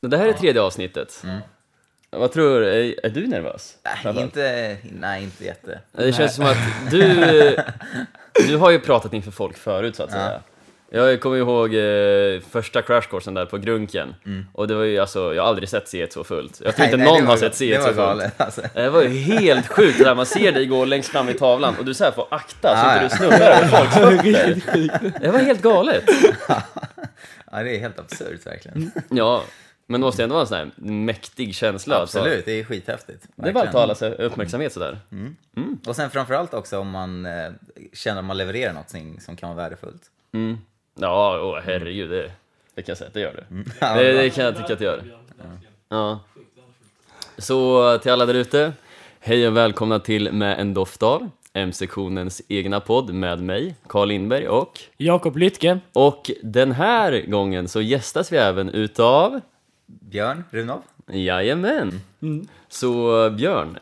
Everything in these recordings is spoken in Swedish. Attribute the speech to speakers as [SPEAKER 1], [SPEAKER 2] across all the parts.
[SPEAKER 1] Det här är tredje avsnittet. Vad tror du? Är, är du nervös?
[SPEAKER 2] Mm. Nej, inte, nej, inte jätte.
[SPEAKER 1] Det känns som att du, du har ju pratat inför folk förut så att säga. Jag kommer ihåg eh, första crashkursen där på Grunken och det var ju alltså, jag har aldrig sett C1 så fullt. Jag tror
[SPEAKER 2] Mm. Nej,
[SPEAKER 1] inte
[SPEAKER 2] nej,
[SPEAKER 1] någon
[SPEAKER 2] det var-
[SPEAKER 1] har sett C1
[SPEAKER 2] Det
[SPEAKER 1] så
[SPEAKER 2] var
[SPEAKER 1] fullt. Eh,
[SPEAKER 2] galet alltså.
[SPEAKER 1] Det var ju helt sjukt det där, man ser dig gå längst fram i tavlan och du så här får akta så
[SPEAKER 2] Ah,
[SPEAKER 1] inte
[SPEAKER 2] ja.
[SPEAKER 1] du snubblar över folks fötter. Det var helt galet.
[SPEAKER 2] Ja, det är helt absurt
[SPEAKER 1] Mm.
[SPEAKER 2] verkligen.
[SPEAKER 1] Ja, men det måste ändå vara en sån här mäktig känsla. att-
[SPEAKER 2] Absolut, det är skithäftigt.
[SPEAKER 1] Alltså, Det är bara att ta allas uppmärksamhet sådär.
[SPEAKER 2] Och sen framförallt också om man eh, känner att man levererar något som kan vara värdefullt.
[SPEAKER 1] Ja, åh, herregud, det, det kan jag säga att det gör det.
[SPEAKER 2] Ja,
[SPEAKER 1] Det,
[SPEAKER 2] bra.
[SPEAKER 1] det kan jag tycka att det gör. Ja. Så till alla där ute, hej och välkomna till Med en doft av, M-sektionens egna podd med mig, Carl Lindberg och...
[SPEAKER 3] Jakob Lytke.
[SPEAKER 1] Och den här gången så gästas vi även utav...
[SPEAKER 2] Björn Runov?
[SPEAKER 1] Jajamän!
[SPEAKER 2] Mm.
[SPEAKER 1] Så Björn,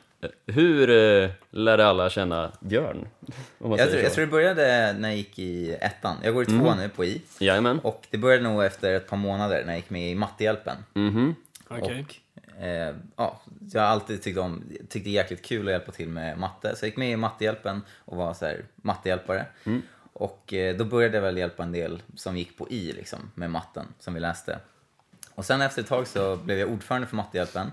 [SPEAKER 1] hur eh, lärde alla känna Björn? Om man
[SPEAKER 2] Jag tror,
[SPEAKER 1] säger Mm.
[SPEAKER 2] jag
[SPEAKER 1] så.
[SPEAKER 2] tror det började när jag gick i ettan. Jag går i tvåan nu på I.
[SPEAKER 1] Jajamän.
[SPEAKER 2] Och det började nog efter ett par månader när jag gick med i Mattehjälpen.
[SPEAKER 3] Okej.
[SPEAKER 2] Eh, ja, jag har alltid tyckt om, tyckte det är jäkligt kul att hjälpa till med matte. Så jag gick med i Mattehjälpen och var så här, mattehjälpare. Och eh, då började jag väl hjälpa en del som gick på I liksom, med matten som vi läste. Och sen efter ett tag så blev jag ordförande för Mattehjälpen.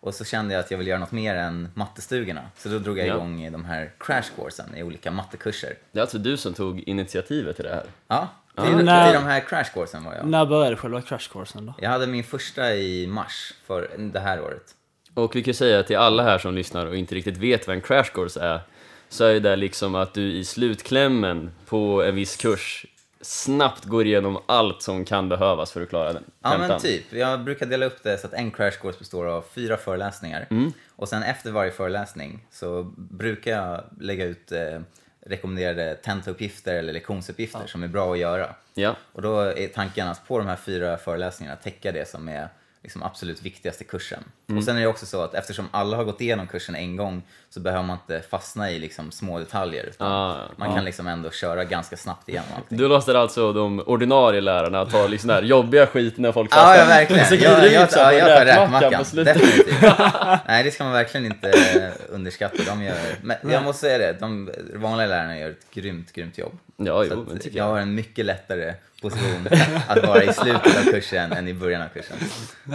[SPEAKER 2] Och så kände jag att jag ville göra något mer än mattestugorna. Så då drog jag
[SPEAKER 1] Ja.
[SPEAKER 2] igång de här crash coursen i olika mattekurser.
[SPEAKER 1] Det är alltså du som tog initiativet till det här.
[SPEAKER 2] Ja, till, till de
[SPEAKER 3] När-
[SPEAKER 2] här crash coursen var jag.
[SPEAKER 3] När började själva crashkursen då?
[SPEAKER 2] Jag hade min första i mars för det här året.
[SPEAKER 1] Och vi kan ju säga till alla här som lyssnar och inte riktigt vet vad en crash course är, så är det liksom att du i slutklämmen på en viss kurs snabbt går igenom allt som kan behövas för att klara den.
[SPEAKER 2] Ja men
[SPEAKER 1] tentan.
[SPEAKER 2] typ. Jag brukar dela upp det så att en crash course består av fyra föreläsningar.
[SPEAKER 1] Mm.
[SPEAKER 2] Och sen efter varje föreläsning så brukar jag lägga ut eh, rekommenderade tentauppgifter eller lektionsuppgifter som är bra att göra.
[SPEAKER 1] Ja.
[SPEAKER 2] Och då är tanken att på de här fyra föreläsningarna täcka det som är liksom absolut viktigaste kursen.
[SPEAKER 1] Mm.
[SPEAKER 2] Och sen är det också så att eftersom alla har gått igenom kursen en gång så behöver man inte fastna i liksom små detaljer. Utan
[SPEAKER 1] Ah, ja.
[SPEAKER 2] man kan liksom ändå köra ganska snabbt igenom allting.
[SPEAKER 1] Du låter alltså de ordinarie lärarna ta liksom den här jobbiga skiten när folk
[SPEAKER 2] Ja, ja verkligen.
[SPEAKER 1] Så glider
[SPEAKER 2] jag,
[SPEAKER 1] du
[SPEAKER 2] jag,
[SPEAKER 1] ut så
[SPEAKER 2] ja,
[SPEAKER 1] här på
[SPEAKER 2] jag tar
[SPEAKER 1] räkmackan
[SPEAKER 2] räkmackan.
[SPEAKER 1] på slutet.
[SPEAKER 2] Definitivt. Nej, det ska man verkligen inte eh, underskatta. De gör, men jag måste säga det, de vanliga lärarna gör ett grymt, grymt jobb.
[SPEAKER 1] Ja,
[SPEAKER 2] Så
[SPEAKER 1] jo,
[SPEAKER 2] att
[SPEAKER 1] men tycker
[SPEAKER 2] jag
[SPEAKER 1] jag.
[SPEAKER 2] har en mycket lättare position att vara i slutet av kursen än i början av kursen.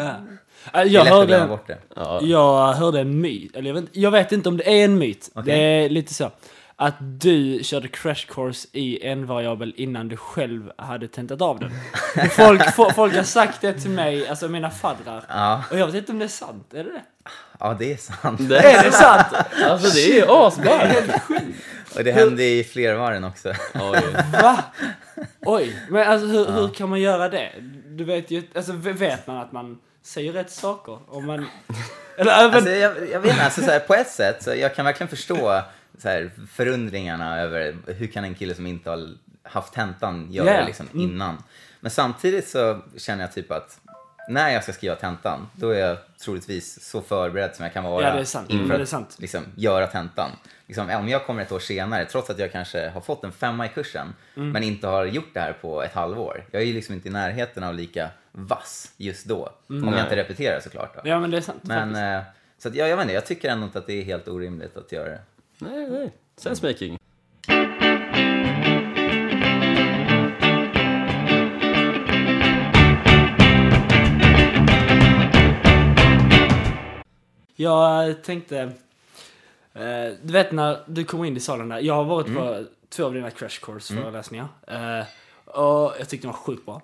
[SPEAKER 3] Äh,
[SPEAKER 2] Det är
[SPEAKER 3] Jag
[SPEAKER 2] lätt att glömma
[SPEAKER 3] hörde,
[SPEAKER 2] bort det.
[SPEAKER 1] Ja.
[SPEAKER 3] jag hörde en myt, eller jag vet, inte- jag vet inte om det är en myt.
[SPEAKER 2] Okej.
[SPEAKER 3] Det är lite så. Att du körde crash course i en variabel innan du själv hade tentat av den. Folk, fo- folk har sagt det till mig, alltså mina faddrar.
[SPEAKER 2] Ja,
[SPEAKER 3] Och jag vet inte om det är sant, är det det?
[SPEAKER 2] ja, det är sant.
[SPEAKER 1] Det,
[SPEAKER 3] Är det sant?
[SPEAKER 1] alltså det är ju asballt!
[SPEAKER 2] Och det hände i flervaren också.
[SPEAKER 1] Ja, jo.
[SPEAKER 3] Va? Oj, men alltså hur, hur kan man göra det? Du vet ju, alltså v- vet man att man säger rätt saker? Om man... Eller även...
[SPEAKER 2] Alltså, jag, jag vet inte, alltså, så här, på ett sätt, så jag kan verkligen förstå så här, förundringarna över hur kan en kille som inte har haft tentan göra
[SPEAKER 3] Ja, ja.
[SPEAKER 2] det liksom, innan. Men samtidigt så känner jag typ att när jag ska skriva tentan, då är jag troligtvis så förberedd som jag kan vara
[SPEAKER 3] Ja, det är sant.
[SPEAKER 2] inför
[SPEAKER 3] Ja, det är
[SPEAKER 2] att,
[SPEAKER 3] sant.
[SPEAKER 2] liksom, göra tentan. Liksom, om jag kommer ett år senare, trots att jag kanske har fått en femma i kursen,
[SPEAKER 3] Mm.
[SPEAKER 2] men inte har gjort det här på ett halvår. Jag är ju liksom inte i närheten av lika vass just då. Om jag inte repeterar såklart. Då.
[SPEAKER 3] Ja men det är sant.
[SPEAKER 2] Men,
[SPEAKER 3] faktiskt.
[SPEAKER 2] eh, så att, jag, jag vet inte, jag tycker ändå inte att det är helt orimligt att göra det.
[SPEAKER 1] Nej, nej. Sensemaking.
[SPEAKER 3] Jag eh, tänkte... eh, du vet när du kommer in i salen där, jag har varit på två av dina crash course föreläsningar. eh, och jag tyckte de var sjukt bra.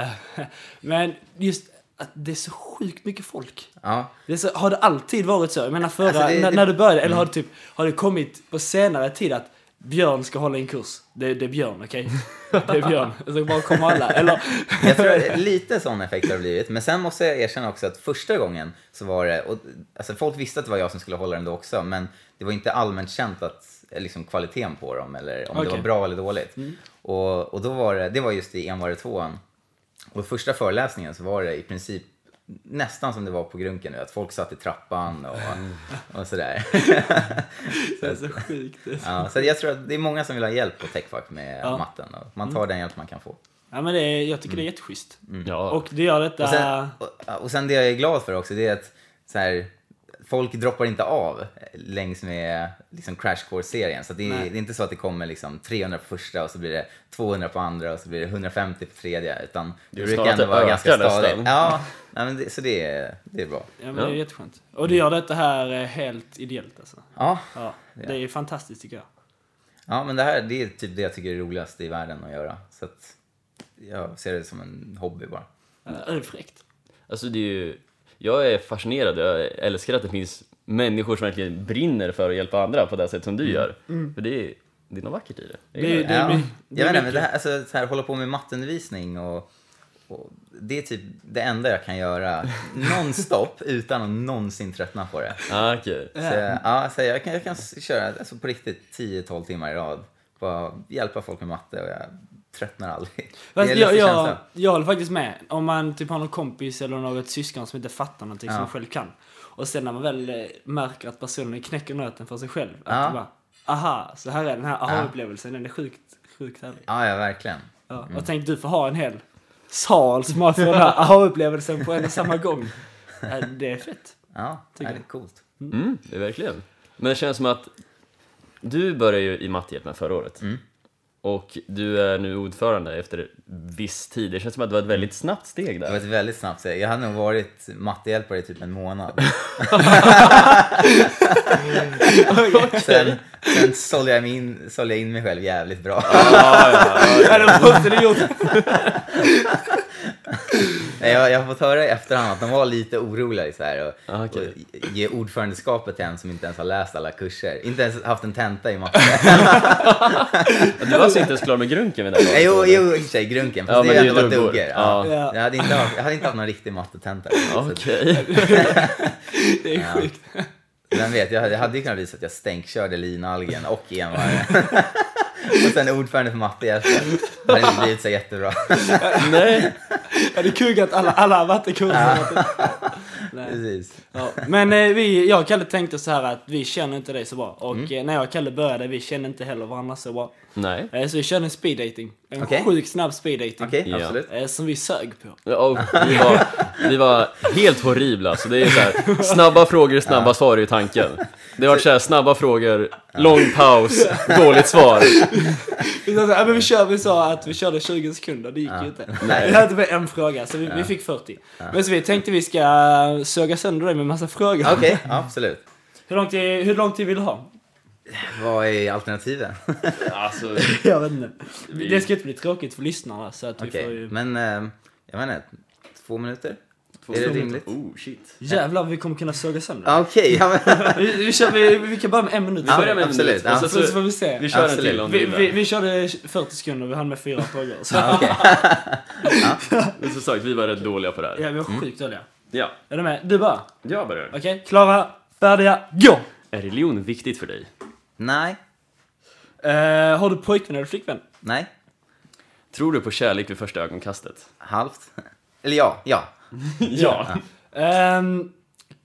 [SPEAKER 3] Eh, men just att det är så sjukt mycket folk.
[SPEAKER 2] Ja,
[SPEAKER 3] Det är så, har det alltid varit så? Jag menar förra,
[SPEAKER 2] Alltså, det-
[SPEAKER 3] när,
[SPEAKER 2] det-
[SPEAKER 3] när du började, eller har det typ, har det kommit på senare tid att Björn ska hålla en kurs? Det, det är Björn, okej? Det är Björn. Så bara kommer alla, eller?
[SPEAKER 2] jag tror att lite sån effekt har det blivit. Men sen måste jag erkänna också att första gången så var det, och, alltså folk visste att det var jag som skulle hålla den då också, men det var inte allmänt känt att eh, liksom, kvaliteten på dem eller om det var
[SPEAKER 3] Okej. Mm.
[SPEAKER 2] bra eller dåligt. Och, och då var det, det var just i envare tvåan. Och första föreläsningen så var det i princip nästan som det var på Grunken nu, att folk satt i trappan och, och sådär.
[SPEAKER 3] Det är så sjukt.
[SPEAKER 2] Ja, så jag tror att det är många som vill ha hjälp på Techfack med matten. Och man tar den hjälp man kan få.
[SPEAKER 3] Ja, men det är, jag tycker det är jätteschysst.
[SPEAKER 1] Ja.
[SPEAKER 3] Och det gör detta...
[SPEAKER 2] Mm. Och sen, och, och sen det jag är glad för också, det är att så här, folk droppar inte av längs med liksom, Crash Course-serien. Så att det, är,
[SPEAKER 3] Nej.
[SPEAKER 2] det är inte så att det kommer liksom, 300 på första och så blir det 200 på andra och så blir det 150 på tredje. Utan det
[SPEAKER 1] snarare att det ökar nästan.
[SPEAKER 2] Ja, nej, men det, så det är, det är bra.
[SPEAKER 3] Ja, men
[SPEAKER 1] Ja.
[SPEAKER 3] det är jätteskönt. Och det gör detta här eh, helt ideellt alltså.
[SPEAKER 2] Ja,
[SPEAKER 3] Ja, det är fantastiskt tycker jag.
[SPEAKER 2] ja, men det här det är typ det jag tycker är roligast i världen att göra. Så att jag ser det som en hobby bara. Mm.
[SPEAKER 3] Eh, Det är fräckt.
[SPEAKER 1] Alltså det är ju, jag är fascinerad, jag älskar att det finns människor som verkligen brinner för att hjälpa andra på det sätt som du gör. För det är, det är något vackert i det. Jag
[SPEAKER 3] Det är-
[SPEAKER 1] gillar
[SPEAKER 3] det är
[SPEAKER 2] ja.
[SPEAKER 3] my- det
[SPEAKER 2] jag
[SPEAKER 3] är
[SPEAKER 2] vet inte, men
[SPEAKER 3] mycket.
[SPEAKER 2] det här, alltså, så här, hålla på med matteundervisning och, och det är typ det enda jag kan göra nonstop utan att någonsin tröttna på det.
[SPEAKER 1] Ah, okej.
[SPEAKER 2] Så, ja, så jag, kan, jag kan s- köra alltså, på riktigt 10-12 timmar i rad. Bara hjälpa folk med matte och jag tröttnar aldrig.
[SPEAKER 3] Fast
[SPEAKER 2] lite
[SPEAKER 3] jag, jag,
[SPEAKER 2] känslan.
[SPEAKER 3] jag håller faktiskt med. Om man typ har någon kompis eller något syskon som inte fattar någonting som
[SPEAKER 2] Ja.
[SPEAKER 3] man själv kan. Och sen när man väl eh, märker att personen knäcker nöten för sig själv. Att
[SPEAKER 2] Ja.
[SPEAKER 3] det bara, aha, så här är den här aha-upplevelsen. Den är sjukt, sjukt härlig.
[SPEAKER 2] Ja, ja, verkligen.
[SPEAKER 3] Ja. Och tänk du får ha en hel sal som har för den här aha-upplevelsen på en och samma gång. Eh, Det är fett.
[SPEAKER 2] Ja, det
[SPEAKER 3] Tycker
[SPEAKER 2] är
[SPEAKER 3] jag.
[SPEAKER 2] coolt.
[SPEAKER 1] Mm, det är verkligen. Men det känns som att du började ju i Mattehjälpen förra året. Och du är nu ordförande efter viss tid. Det känns som att det var ett väldigt snabbt steg
[SPEAKER 2] Det
[SPEAKER 1] där.
[SPEAKER 2] var ett väldigt snabbt steg. Jag hade nog varit mattehjälpare i typ en månad. sen sen sålde, jag mig in, sålde jag in mig själv jävligt bra.
[SPEAKER 3] Ja, det måste du gjort.
[SPEAKER 2] Nej, Jag, jag har fått höra i efterhand att de var lite oroliga i så här och,
[SPEAKER 1] Ah, okej.
[SPEAKER 2] och ge ordförandeskapet till en som inte ens har läst alla kurser. Inte ens haft en tenta i matte.
[SPEAKER 1] Du var alltså inte ens klar med grunken vid det här
[SPEAKER 2] Nej, jo,
[SPEAKER 1] laget, eller?
[SPEAKER 2] jo, i och för sig, grunken. Fast
[SPEAKER 1] Ja,
[SPEAKER 2] det
[SPEAKER 1] men
[SPEAKER 2] är
[SPEAKER 1] det
[SPEAKER 2] ändå
[SPEAKER 1] är
[SPEAKER 2] vad
[SPEAKER 1] dubbor.
[SPEAKER 2] duger.
[SPEAKER 1] Ja. Ah,
[SPEAKER 2] Ja. Jag, hade inte haft, jag hade inte haft någon riktig mattetenta. Så att-
[SPEAKER 1] Okej.
[SPEAKER 3] Det är sjukt.
[SPEAKER 2] Vem vet, jag hade, jag hade ju kunnat visa att jag stänkkörde linalgen och envaren. och sen ordförande för matte i efter. Det hade inte blivit så jättebra.
[SPEAKER 1] Nej.
[SPEAKER 3] Jag hade kugat alla, alla vattenkurser. Nej.
[SPEAKER 2] Precis.
[SPEAKER 3] Ja, men eh, vi, jag och Kalle tänkte så här att vi känner inte dig så bra. Och
[SPEAKER 2] Mm.
[SPEAKER 3] eh, när jag och Kalle började, vi kände inte heller varandra så bra.
[SPEAKER 1] Nej.
[SPEAKER 3] Eh, så vi körde en speed dating. En
[SPEAKER 2] Okej.
[SPEAKER 3] sjukt snabb speed dating.
[SPEAKER 2] Okej,
[SPEAKER 1] Ja.
[SPEAKER 2] absolut.
[SPEAKER 3] Eh, som vi sög på.
[SPEAKER 1] Ja, Och vi, var, vi var helt horribla, så det är så här, snabba frågor, snabba svar är ju tanken. Det har varit så här, snabba frågor, lång paus, dåligt svar.
[SPEAKER 3] Vi sa, så här, "Ja, men vi, kör, vi sa att vi körde 20 sekunder, det gick ju inte.
[SPEAKER 2] Nej.
[SPEAKER 3] Vi hade bara en fråga, så vi, vi fick 40. Men så vi tänkte vi ska eh, söga sönder dig med massa frågor.
[SPEAKER 2] Okej, ja, absolut.
[SPEAKER 3] Hur, lång tid, hur lång tid vill du ha?
[SPEAKER 2] Vad är alternativen?
[SPEAKER 1] Alltså,
[SPEAKER 3] Jag vet inte.
[SPEAKER 1] Vi-
[SPEAKER 3] Det ska inte bli tråkigt för lyssnarna så att vi
[SPEAKER 2] Okej,
[SPEAKER 3] får ju...
[SPEAKER 2] men eh, jag menar, två minuter? är det rimligt?
[SPEAKER 1] Oh, shit.
[SPEAKER 3] Jävlar vi kommer kunna söga sönder dig.
[SPEAKER 2] Ja, Okej, ja, men,
[SPEAKER 3] Vi, vi, kör, vi, vi kan börja med en minut.
[SPEAKER 1] Vi börjar med en
[SPEAKER 2] Absolut,
[SPEAKER 1] minut,
[SPEAKER 2] ja.
[SPEAKER 1] och så,
[SPEAKER 3] Så, så,
[SPEAKER 1] så,
[SPEAKER 3] får vi se.
[SPEAKER 1] vi kör en
[SPEAKER 2] Absolut.
[SPEAKER 1] till om
[SPEAKER 3] Vi,
[SPEAKER 1] vi,
[SPEAKER 3] vi, vi körde 40 sekunder och vi hann med fyra frågor. Så.
[SPEAKER 2] okej.
[SPEAKER 1] vi, Som sagt, vi var rätt dåliga på det här.
[SPEAKER 3] Ja, vi var
[SPEAKER 2] Mm.
[SPEAKER 3] sjukt dåliga.
[SPEAKER 1] Ja,
[SPEAKER 3] Är du med? Du bara.
[SPEAKER 1] jag börjar.
[SPEAKER 3] Okej, klara, färdiga, gå!
[SPEAKER 1] Är religion viktigt för dig?
[SPEAKER 2] Nej,
[SPEAKER 3] Eh, har du pojkvän eller flickvän?
[SPEAKER 2] nej,
[SPEAKER 1] Tror du på kärlek vid första ögonkastet?
[SPEAKER 2] halvt. Eller ja, ja.
[SPEAKER 1] Ja.
[SPEAKER 3] Ehm,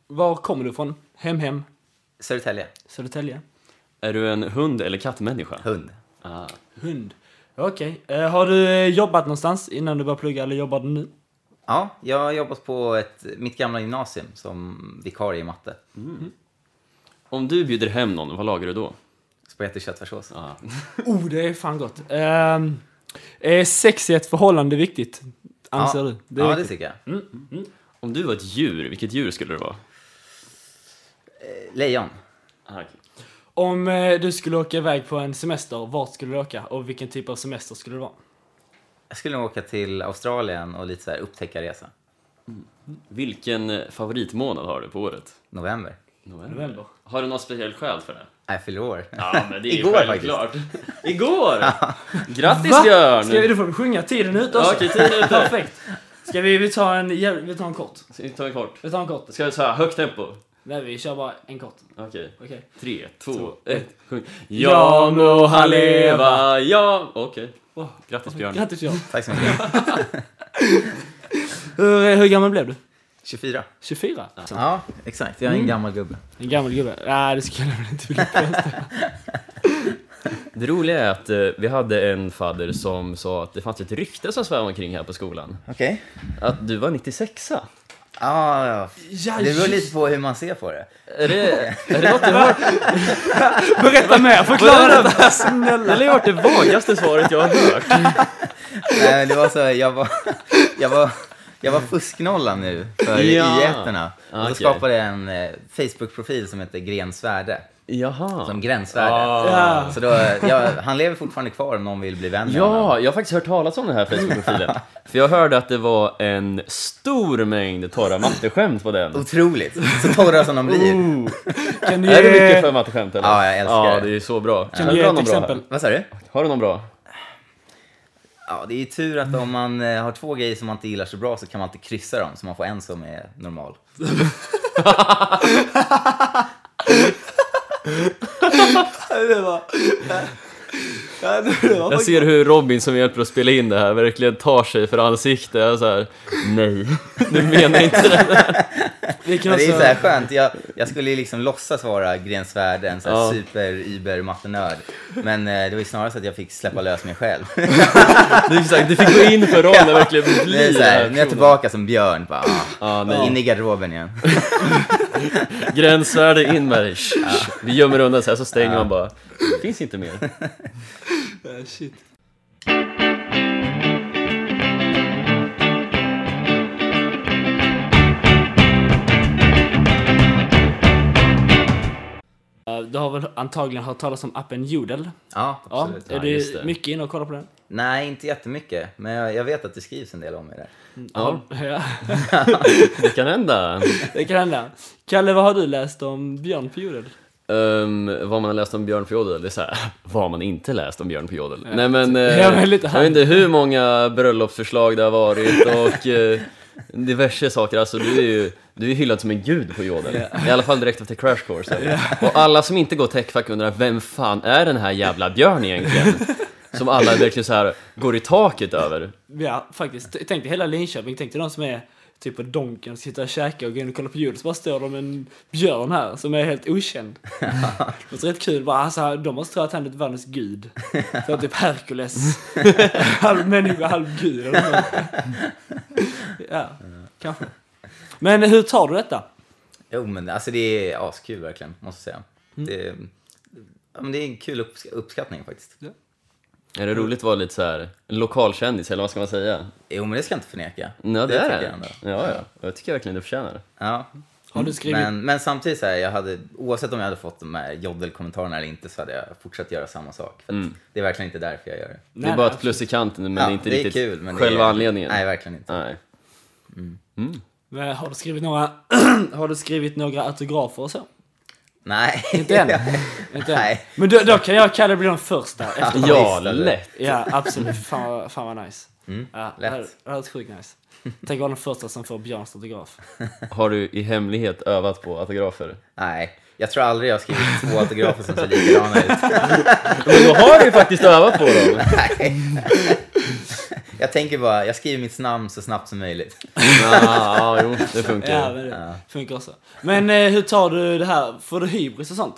[SPEAKER 3] var kommer du ifrån? Hem, hem?
[SPEAKER 2] Södertälje.
[SPEAKER 3] Södertälje?
[SPEAKER 1] Är du en hund eller kattmänniska?
[SPEAKER 2] Hund.
[SPEAKER 1] Ah.
[SPEAKER 3] Hund? Okej. Eh, har du eh, jobbat någonstans innan du började plugga eller jobbar du nu?
[SPEAKER 2] Ja, jag har jobbat på ett, mitt gamla gymnasium som vikarie i matte.
[SPEAKER 1] Om du bjuder hem någon, vad lagar du då?
[SPEAKER 2] Spagetti och köttfärssås.
[SPEAKER 1] Ah.
[SPEAKER 3] Oh, det är fan gott. Ehm, är sex i ett förhållande viktigt? Anser
[SPEAKER 2] ja.
[SPEAKER 3] du?
[SPEAKER 2] ja, det
[SPEAKER 3] viktigt.
[SPEAKER 2] tycker jag.
[SPEAKER 1] Om du var ett djur, vilket djur skulle du vara?
[SPEAKER 2] Lejon.
[SPEAKER 1] Ah, okej.
[SPEAKER 3] Om eh, du skulle åka iväg på en semester, vart skulle du åka? Och vilken typ av semester skulle det vara?
[SPEAKER 2] Jag skulle nog åka till Australien och lite så här upptäckarresa.
[SPEAKER 1] Vilken eh, favoritmånad har du på året?
[SPEAKER 2] November.
[SPEAKER 3] November.
[SPEAKER 1] Har du något speciellt skäl för det?
[SPEAKER 2] Nej, jag fyller år.
[SPEAKER 1] Ja, men det är
[SPEAKER 2] Igår
[SPEAKER 1] Igår, självklart. Igår! Grattis
[SPEAKER 3] Va?
[SPEAKER 1] Björn!
[SPEAKER 3] Ska vi, då får vi sjunga tiden ut
[SPEAKER 1] Ja,
[SPEAKER 3] också.
[SPEAKER 1] okej, tiden är ute.
[SPEAKER 3] Perfekt. Ska vi, vi ta en, jäv- vi tar en kort?
[SPEAKER 1] Ska vi ta en kort?
[SPEAKER 3] Vi tar en kort.
[SPEAKER 1] Ska vi säga högt tempo?
[SPEAKER 3] Nej, vi kör bara en kort.
[SPEAKER 1] Okej.
[SPEAKER 3] Okej.
[SPEAKER 1] Tre, två, ett, sjung. Ja må han leva, ja... Okej.
[SPEAKER 3] Åh,
[SPEAKER 1] Grattis Björn.
[SPEAKER 3] Grattis Björn.
[SPEAKER 2] Tack så mycket.
[SPEAKER 3] Hur, hur gammal blev du?
[SPEAKER 2] 24.
[SPEAKER 3] 24?
[SPEAKER 2] Ja, exakt. Jag är en gammal gubbe.
[SPEAKER 3] En gammal gubbe? Nej, det skulle jag väl inte vilja påstå.
[SPEAKER 1] Det roliga är att eh, vi hade en fadder som sa att det fanns ett rykte som svävade omkring här på skolan.
[SPEAKER 2] Okej.
[SPEAKER 1] Att du var 96a.
[SPEAKER 2] Ah, ja.
[SPEAKER 3] Ja,
[SPEAKER 2] Det beror
[SPEAKER 3] just-
[SPEAKER 2] lite på hur man ser på det.
[SPEAKER 1] Är det, är det något du har
[SPEAKER 3] Berätta mer, förklara detta
[SPEAKER 1] Det
[SPEAKER 3] snälla.
[SPEAKER 1] har varit det vagaste svaret jag har hört.
[SPEAKER 2] Nej, men det var så här, jag var, jag var, jag var fusknolla nu för
[SPEAKER 1] Ja.
[SPEAKER 2] i ettorna Och då
[SPEAKER 1] Okej.
[SPEAKER 2] skapade jag en eh, Facebook-profil som heter Grensvärde.
[SPEAKER 1] Jaha.
[SPEAKER 2] Som
[SPEAKER 1] Ah.
[SPEAKER 2] gränsvärde.
[SPEAKER 3] Ja.
[SPEAKER 2] Så då, ja, han lever fortfarande kvar om någon vill bli vän med honom.
[SPEAKER 1] Ja, jag har faktiskt hört talas om den här Facebook-profilen. För jag hörde att det var en stor mängd torra matteskämt på den.
[SPEAKER 2] Otroligt! Så torra som de blir.
[SPEAKER 3] Kan du
[SPEAKER 1] Är du mycket
[SPEAKER 3] ge,
[SPEAKER 1] för matteskämt eller?
[SPEAKER 2] Ja, jag älskar
[SPEAKER 1] Ja,
[SPEAKER 2] det.
[SPEAKER 1] det är ju så bra.
[SPEAKER 3] kan
[SPEAKER 1] Har
[SPEAKER 3] du
[SPEAKER 1] du
[SPEAKER 3] ge
[SPEAKER 1] bra
[SPEAKER 3] ett
[SPEAKER 1] någon bra
[SPEAKER 3] exempel?
[SPEAKER 1] här?
[SPEAKER 2] Vad sa du?
[SPEAKER 1] Har du någon bra?
[SPEAKER 2] Ja, det är ju tur att om man eh, har två grejer som man inte gillar så bra så kan man alltid kryssa dem så man får en som är normal.
[SPEAKER 3] Det var... Ja, det var
[SPEAKER 1] Jag ser hur Robin som hjälper att spela in det här verkligen tar sig för ansiktet. Jag är så här, nej, du menar inte det.
[SPEAKER 3] Vi kan
[SPEAKER 2] Men det är
[SPEAKER 3] också...
[SPEAKER 2] så här skönt, jag, jag skulle ju liksom låtsas vara Grensvärde, en sån här
[SPEAKER 1] Ja.
[SPEAKER 2] super über mattenörd. Men eh, det var ju snarare så att jag fick släppa lös mig själv.
[SPEAKER 1] Du, exakt, du fick gå in för rollen och verkligen bli
[SPEAKER 2] Det är så
[SPEAKER 1] den
[SPEAKER 2] här, nu är jag
[SPEAKER 1] personen.
[SPEAKER 2] tillbaka som Björn, bara,
[SPEAKER 1] Ja,
[SPEAKER 2] ah,
[SPEAKER 1] nej.
[SPEAKER 2] in i garderoben igen.
[SPEAKER 1] Gränsvärde in med det. Shh, shh. Vi gömmer undan så här så stänger man bara. Finns inte mer.
[SPEAKER 3] Eh, Shit. Eh, Eh, Du har väl antagligen hört talas om appen Jodel?
[SPEAKER 2] Ja,
[SPEAKER 3] Ja,
[SPEAKER 2] absolut.
[SPEAKER 1] Ja,
[SPEAKER 3] är
[SPEAKER 1] just det.
[SPEAKER 3] du mycket inne och kollar på den?
[SPEAKER 2] Nej, inte jättemycket, men jag, jag vet att det skrivs en del om mig där.
[SPEAKER 1] Ja.
[SPEAKER 3] ja.
[SPEAKER 1] Det kan hända.
[SPEAKER 3] Det kan hända. Kalle, vad har du läst om Björn på Jodel?
[SPEAKER 1] Ehm, vad man har läst om Björn på Jodel, det är så här, vad man inte läst om Björn på Jodel. Nej men, eh,
[SPEAKER 3] Ja, men lite
[SPEAKER 1] jag vet inte hur många bröllopsförslag det har varit och eh, diverse saker. Alltså du är ju du är hyllad som en gud på Jodel. I alla fall direkt efter Crash Course. Och alla som inte går techfack undrar, vem fan är den här jävla Björn egentligen? Som alla verkligen så här går i taket över.
[SPEAKER 3] Ja, faktiskt. T- Tänk dig hela Linköping, tänk dig de som är typ på Donken, sitter och käkar och går in och kollar på jul, så bara står de en björn här som är helt okänd. det är rätt kul, bara, alltså, de måste tro att han är världens gud. Så typ Herkules, halv människa, halv gud. eller något. ja, kanske. Men hur tar du detta?
[SPEAKER 2] Jo, men alltså det är askul verkligen, måste jag säga. Det, ja, men det är en kul uppsk- uppskattning faktiskt.
[SPEAKER 1] Är det roligt att vara lite så här lokalkändis, eller vad ska man säga?
[SPEAKER 2] Jo, men det ska jag inte förneka.
[SPEAKER 1] Ja, det,
[SPEAKER 2] tycker
[SPEAKER 1] är
[SPEAKER 2] jag
[SPEAKER 1] det.
[SPEAKER 2] ändå.
[SPEAKER 1] Ja, ja. Jag tycker verkligen du förtjänar det.
[SPEAKER 2] Ja.
[SPEAKER 3] Har du skrivit?
[SPEAKER 2] Men, men samtidigt, så här, jag hade, oavsett om jag hade fått de här jodelkommentarerna eller inte så hade jag fortsatt göra samma sak. För att Det är verkligen inte därför jag gör det.
[SPEAKER 1] Det är
[SPEAKER 3] Nej,
[SPEAKER 1] bara
[SPEAKER 3] nej,
[SPEAKER 1] ett plus i kanten, men
[SPEAKER 2] Ja,
[SPEAKER 1] Mm. det är inte
[SPEAKER 2] det är
[SPEAKER 1] riktigt
[SPEAKER 2] kul, men det
[SPEAKER 1] själva
[SPEAKER 2] är-
[SPEAKER 1] anledningen.
[SPEAKER 2] Nej, verkligen inte.
[SPEAKER 1] Nej.
[SPEAKER 3] Men har du skrivit några, har du skrivit några autografer och så?
[SPEAKER 2] Nej.
[SPEAKER 3] Inte än. Inte än.
[SPEAKER 2] Nej.
[SPEAKER 3] Men då, då kan jag och Kalle bli de första efter
[SPEAKER 1] Ja,
[SPEAKER 2] visst, eller?
[SPEAKER 1] lätt.
[SPEAKER 3] Ja, absolut. Fan, vad- fan vad nice. ja, Det
[SPEAKER 2] Mm, lätt.
[SPEAKER 3] här det här är sjukt nice. Tänk vara den första som får Björns autograf.
[SPEAKER 1] Har du i hemlighet övat på autografer?
[SPEAKER 2] Nej. Jag tror aldrig jag har skrivit två autografer som ser likadana ut.
[SPEAKER 1] Men då har du ju faktiskt övat på dem!
[SPEAKER 2] Nej. Jag tänker bara, jag skriver mitt namn så snabbt som möjligt.
[SPEAKER 1] Ja, ja, jo, det funkar.
[SPEAKER 3] Ja, men det funkar också. Men eh, hur tar du det här? Får du hybris och sånt?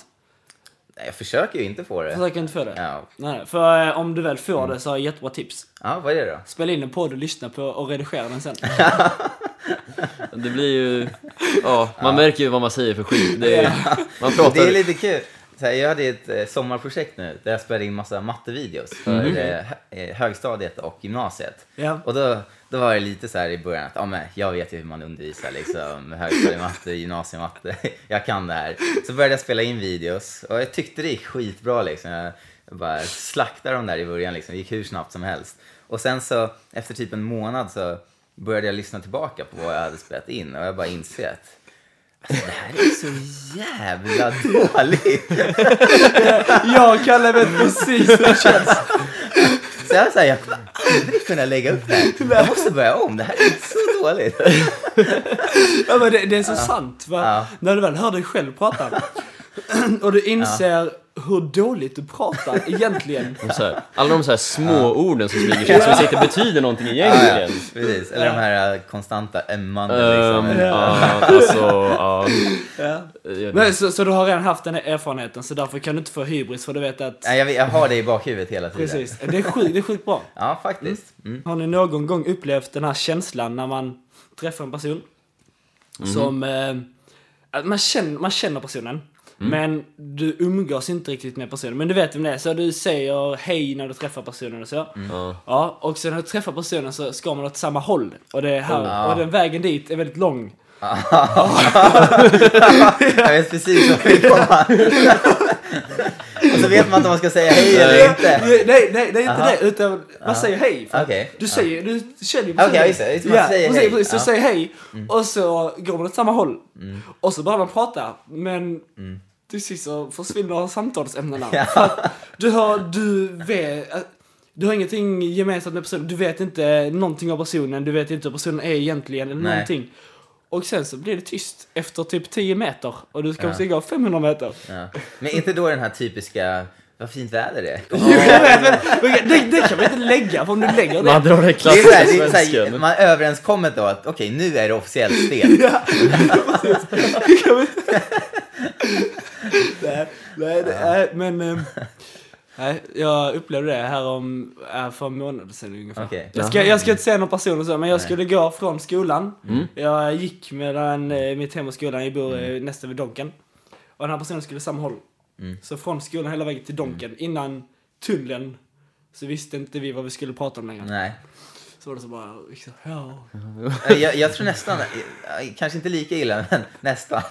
[SPEAKER 2] Nej, Jag försöker ju inte få det.
[SPEAKER 3] Försök inte få det.
[SPEAKER 2] Ja, Mm.
[SPEAKER 3] Nej, för eh, om du väl får det så har jag jättebra tips.
[SPEAKER 2] ja vad är det då?
[SPEAKER 3] Spela in en podd och lyssna på och redigera den sen.
[SPEAKER 1] Det blir ju... Ja, man märker ju vad man säger för skit. Det är, man pratar...
[SPEAKER 2] Det är lite kul. Så här, jag hade ett eh, sommarprojekt nu där jag spelade in massa mattevideos för eh, hö- eh, högstadiet och gymnasiet.
[SPEAKER 3] Ja.
[SPEAKER 2] Och då, då var det lite så här i början att ah, men, jag vet ju hur man undervisar liksom, högstadiematte, gymnasiematte, jag kan det här. Så började jag spela in videos och jag tyckte det gick skitbra liksom. Jag bara slaktade dem där i början liksom, det gick hur snabbt som helst. Och sen så efter typ en månad så började jag lyssna tillbaka på vad jag hade spelat in och jag bara inser att alltså, det här är så jävla dåligt.
[SPEAKER 3] jag och Kalle vet precis hur det känns.
[SPEAKER 2] Så jag, var så här, jag kommer aldrig kunna lägga upp det här. Jag måste börja om. Det här är så dåligt.
[SPEAKER 3] Ja, men det, det är så sant. Va?
[SPEAKER 2] Ja.
[SPEAKER 3] När du väl hör dig själv prata och du inser hur dåligt du pratar egentligen.
[SPEAKER 1] Och Så här, alla de så här små orden som smyger sig, som alltså inte betyder någonting Ehm,
[SPEAKER 2] Ja, ja,
[SPEAKER 1] egentligen.
[SPEAKER 2] precis. Eller de här eh, konstanta ömmande liksom.
[SPEAKER 1] Ehm, ja, alltså, ja.
[SPEAKER 3] Ja.
[SPEAKER 1] Jag-
[SPEAKER 3] Men, så, så du har redan haft den här erfarenheten, så därför kan du inte få hybris, för du vet att...
[SPEAKER 2] Nej, jag, vet- jag har det i bakhuvudet hela tiden.
[SPEAKER 3] Precis. Det är sjukt, det är sjukt bra.
[SPEAKER 2] Ja, faktiskt. Mm.
[SPEAKER 3] Har ni någon gång upplevt den här känslan när man träffar en person
[SPEAKER 2] Mm.
[SPEAKER 3] som... Eh, att man, känner, man känner personen,
[SPEAKER 2] Mm.
[SPEAKER 3] men du umgås inte riktigt med personen. Men du vet vem det är, så du säger hej när du träffar personen och så.
[SPEAKER 2] Mm.
[SPEAKER 1] Ja.
[SPEAKER 3] Ja, och sen när du träffar personen så ska man åt samma håll. Och, det är här,
[SPEAKER 2] Ah.
[SPEAKER 3] och den vägen dit är väldigt lång.
[SPEAKER 2] Mm. Jag vet precis vad vi komma. Och så vet man inte om man ska säga hej eller inte.
[SPEAKER 3] Nej, nej, nej, det är inte
[SPEAKER 2] Aha.
[SPEAKER 3] det. Utan man säger hej. för att
[SPEAKER 2] Okej.
[SPEAKER 3] Du
[SPEAKER 2] Ja.
[SPEAKER 3] säger, du känner ju
[SPEAKER 2] Okej, just det, just det, man
[SPEAKER 3] Ja,
[SPEAKER 2] säger
[SPEAKER 3] precis,
[SPEAKER 2] hej.
[SPEAKER 3] precis, så
[SPEAKER 2] Ja. Mm.
[SPEAKER 3] säger hej. Och så går man åt samma håll. Och så börjar man prata. Men
[SPEAKER 2] Mm.
[SPEAKER 3] till sist så försvinner samtalsämnena. För att du har, du vet, att- du har ingenting gemensamt med personen. Du vet inte någonting av personen. Du vet inte hur personen är egentligen eller
[SPEAKER 2] Nej.
[SPEAKER 3] någonting. Och sen så blir det tyst efter typ 10 meter. Och du ska försöka gå 500 meter.
[SPEAKER 2] Ja. Men inte då den här typiska, vad fint väder det är.
[SPEAKER 3] Jo, jag vet, men- men det, det kan man inte lägga, för om du lägger det...
[SPEAKER 1] Man drar den
[SPEAKER 2] Det är så här, det
[SPEAKER 1] klassiska
[SPEAKER 2] är så här,
[SPEAKER 1] svensken.
[SPEAKER 2] man överenskommer då att okej, nu är det officiellt stel.
[SPEAKER 3] nej, nej, det, nej, men... ehm, Nej, jag upplevde det här om, äh, för en månad sedan ungefär.
[SPEAKER 2] Okej.
[SPEAKER 3] Jag, ska, jag ska inte säga någon person och så, men jag skulle gå från skolan.
[SPEAKER 2] Mm.
[SPEAKER 3] Jag gick mellan eh, mitt hem och skolan, jag bor eh, nästan vid Donken. Och den här personen skulle samma håll.
[SPEAKER 2] Mm.
[SPEAKER 3] Så från skolan hela vägen till Donken, innan tunneln, så visste inte vi vad vi skulle prata om längre.
[SPEAKER 2] Nej.
[SPEAKER 3] Så var det så bara, liksom, ja.
[SPEAKER 2] Jag, jag tror nästan, eh, kanske inte lika illa, men nästan.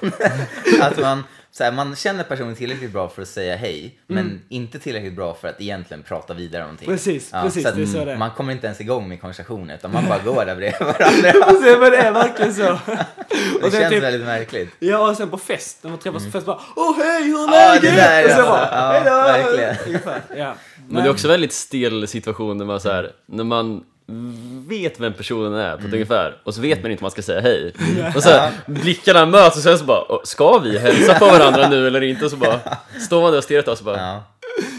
[SPEAKER 2] Att man, så här, man känner personen tillräckligt bra för att säga hej, men inte tillräckligt bra för att egentligen prata vidare om någonting.
[SPEAKER 3] Mm. Precis, precis,
[SPEAKER 2] så att
[SPEAKER 3] det är så det är.
[SPEAKER 2] Man kommer inte ens igång med konversationen, utan man bara går där bredvid varandra.
[SPEAKER 3] Alltså, men det är verkligen så.
[SPEAKER 2] Det
[SPEAKER 3] Och det är
[SPEAKER 2] känns
[SPEAKER 3] typ,
[SPEAKER 2] väldigt märkligt.
[SPEAKER 3] Ja, och sen på fest, när man träffas på fest bara Åh hej, hur är
[SPEAKER 2] Ja,
[SPEAKER 3] läget?
[SPEAKER 2] det där,
[SPEAKER 3] och sen
[SPEAKER 2] ja.
[SPEAKER 3] bara
[SPEAKER 2] Ja,
[SPEAKER 3] "Hej då!"
[SPEAKER 2] verkligen.
[SPEAKER 3] Ungefär, ja.
[SPEAKER 1] Men det är också väldigt stel situation när man, så här, när man vet vem personen är på
[SPEAKER 3] Mm.
[SPEAKER 1] ett ungefär och så vet man inte om man ska säga hej. Och så här, blickarna möts och sen så bara, "Åh, ska vi hälsa på varandra nu eller inte? Och så bara står man där och stirrar på oss och bara,
[SPEAKER 2] Ja.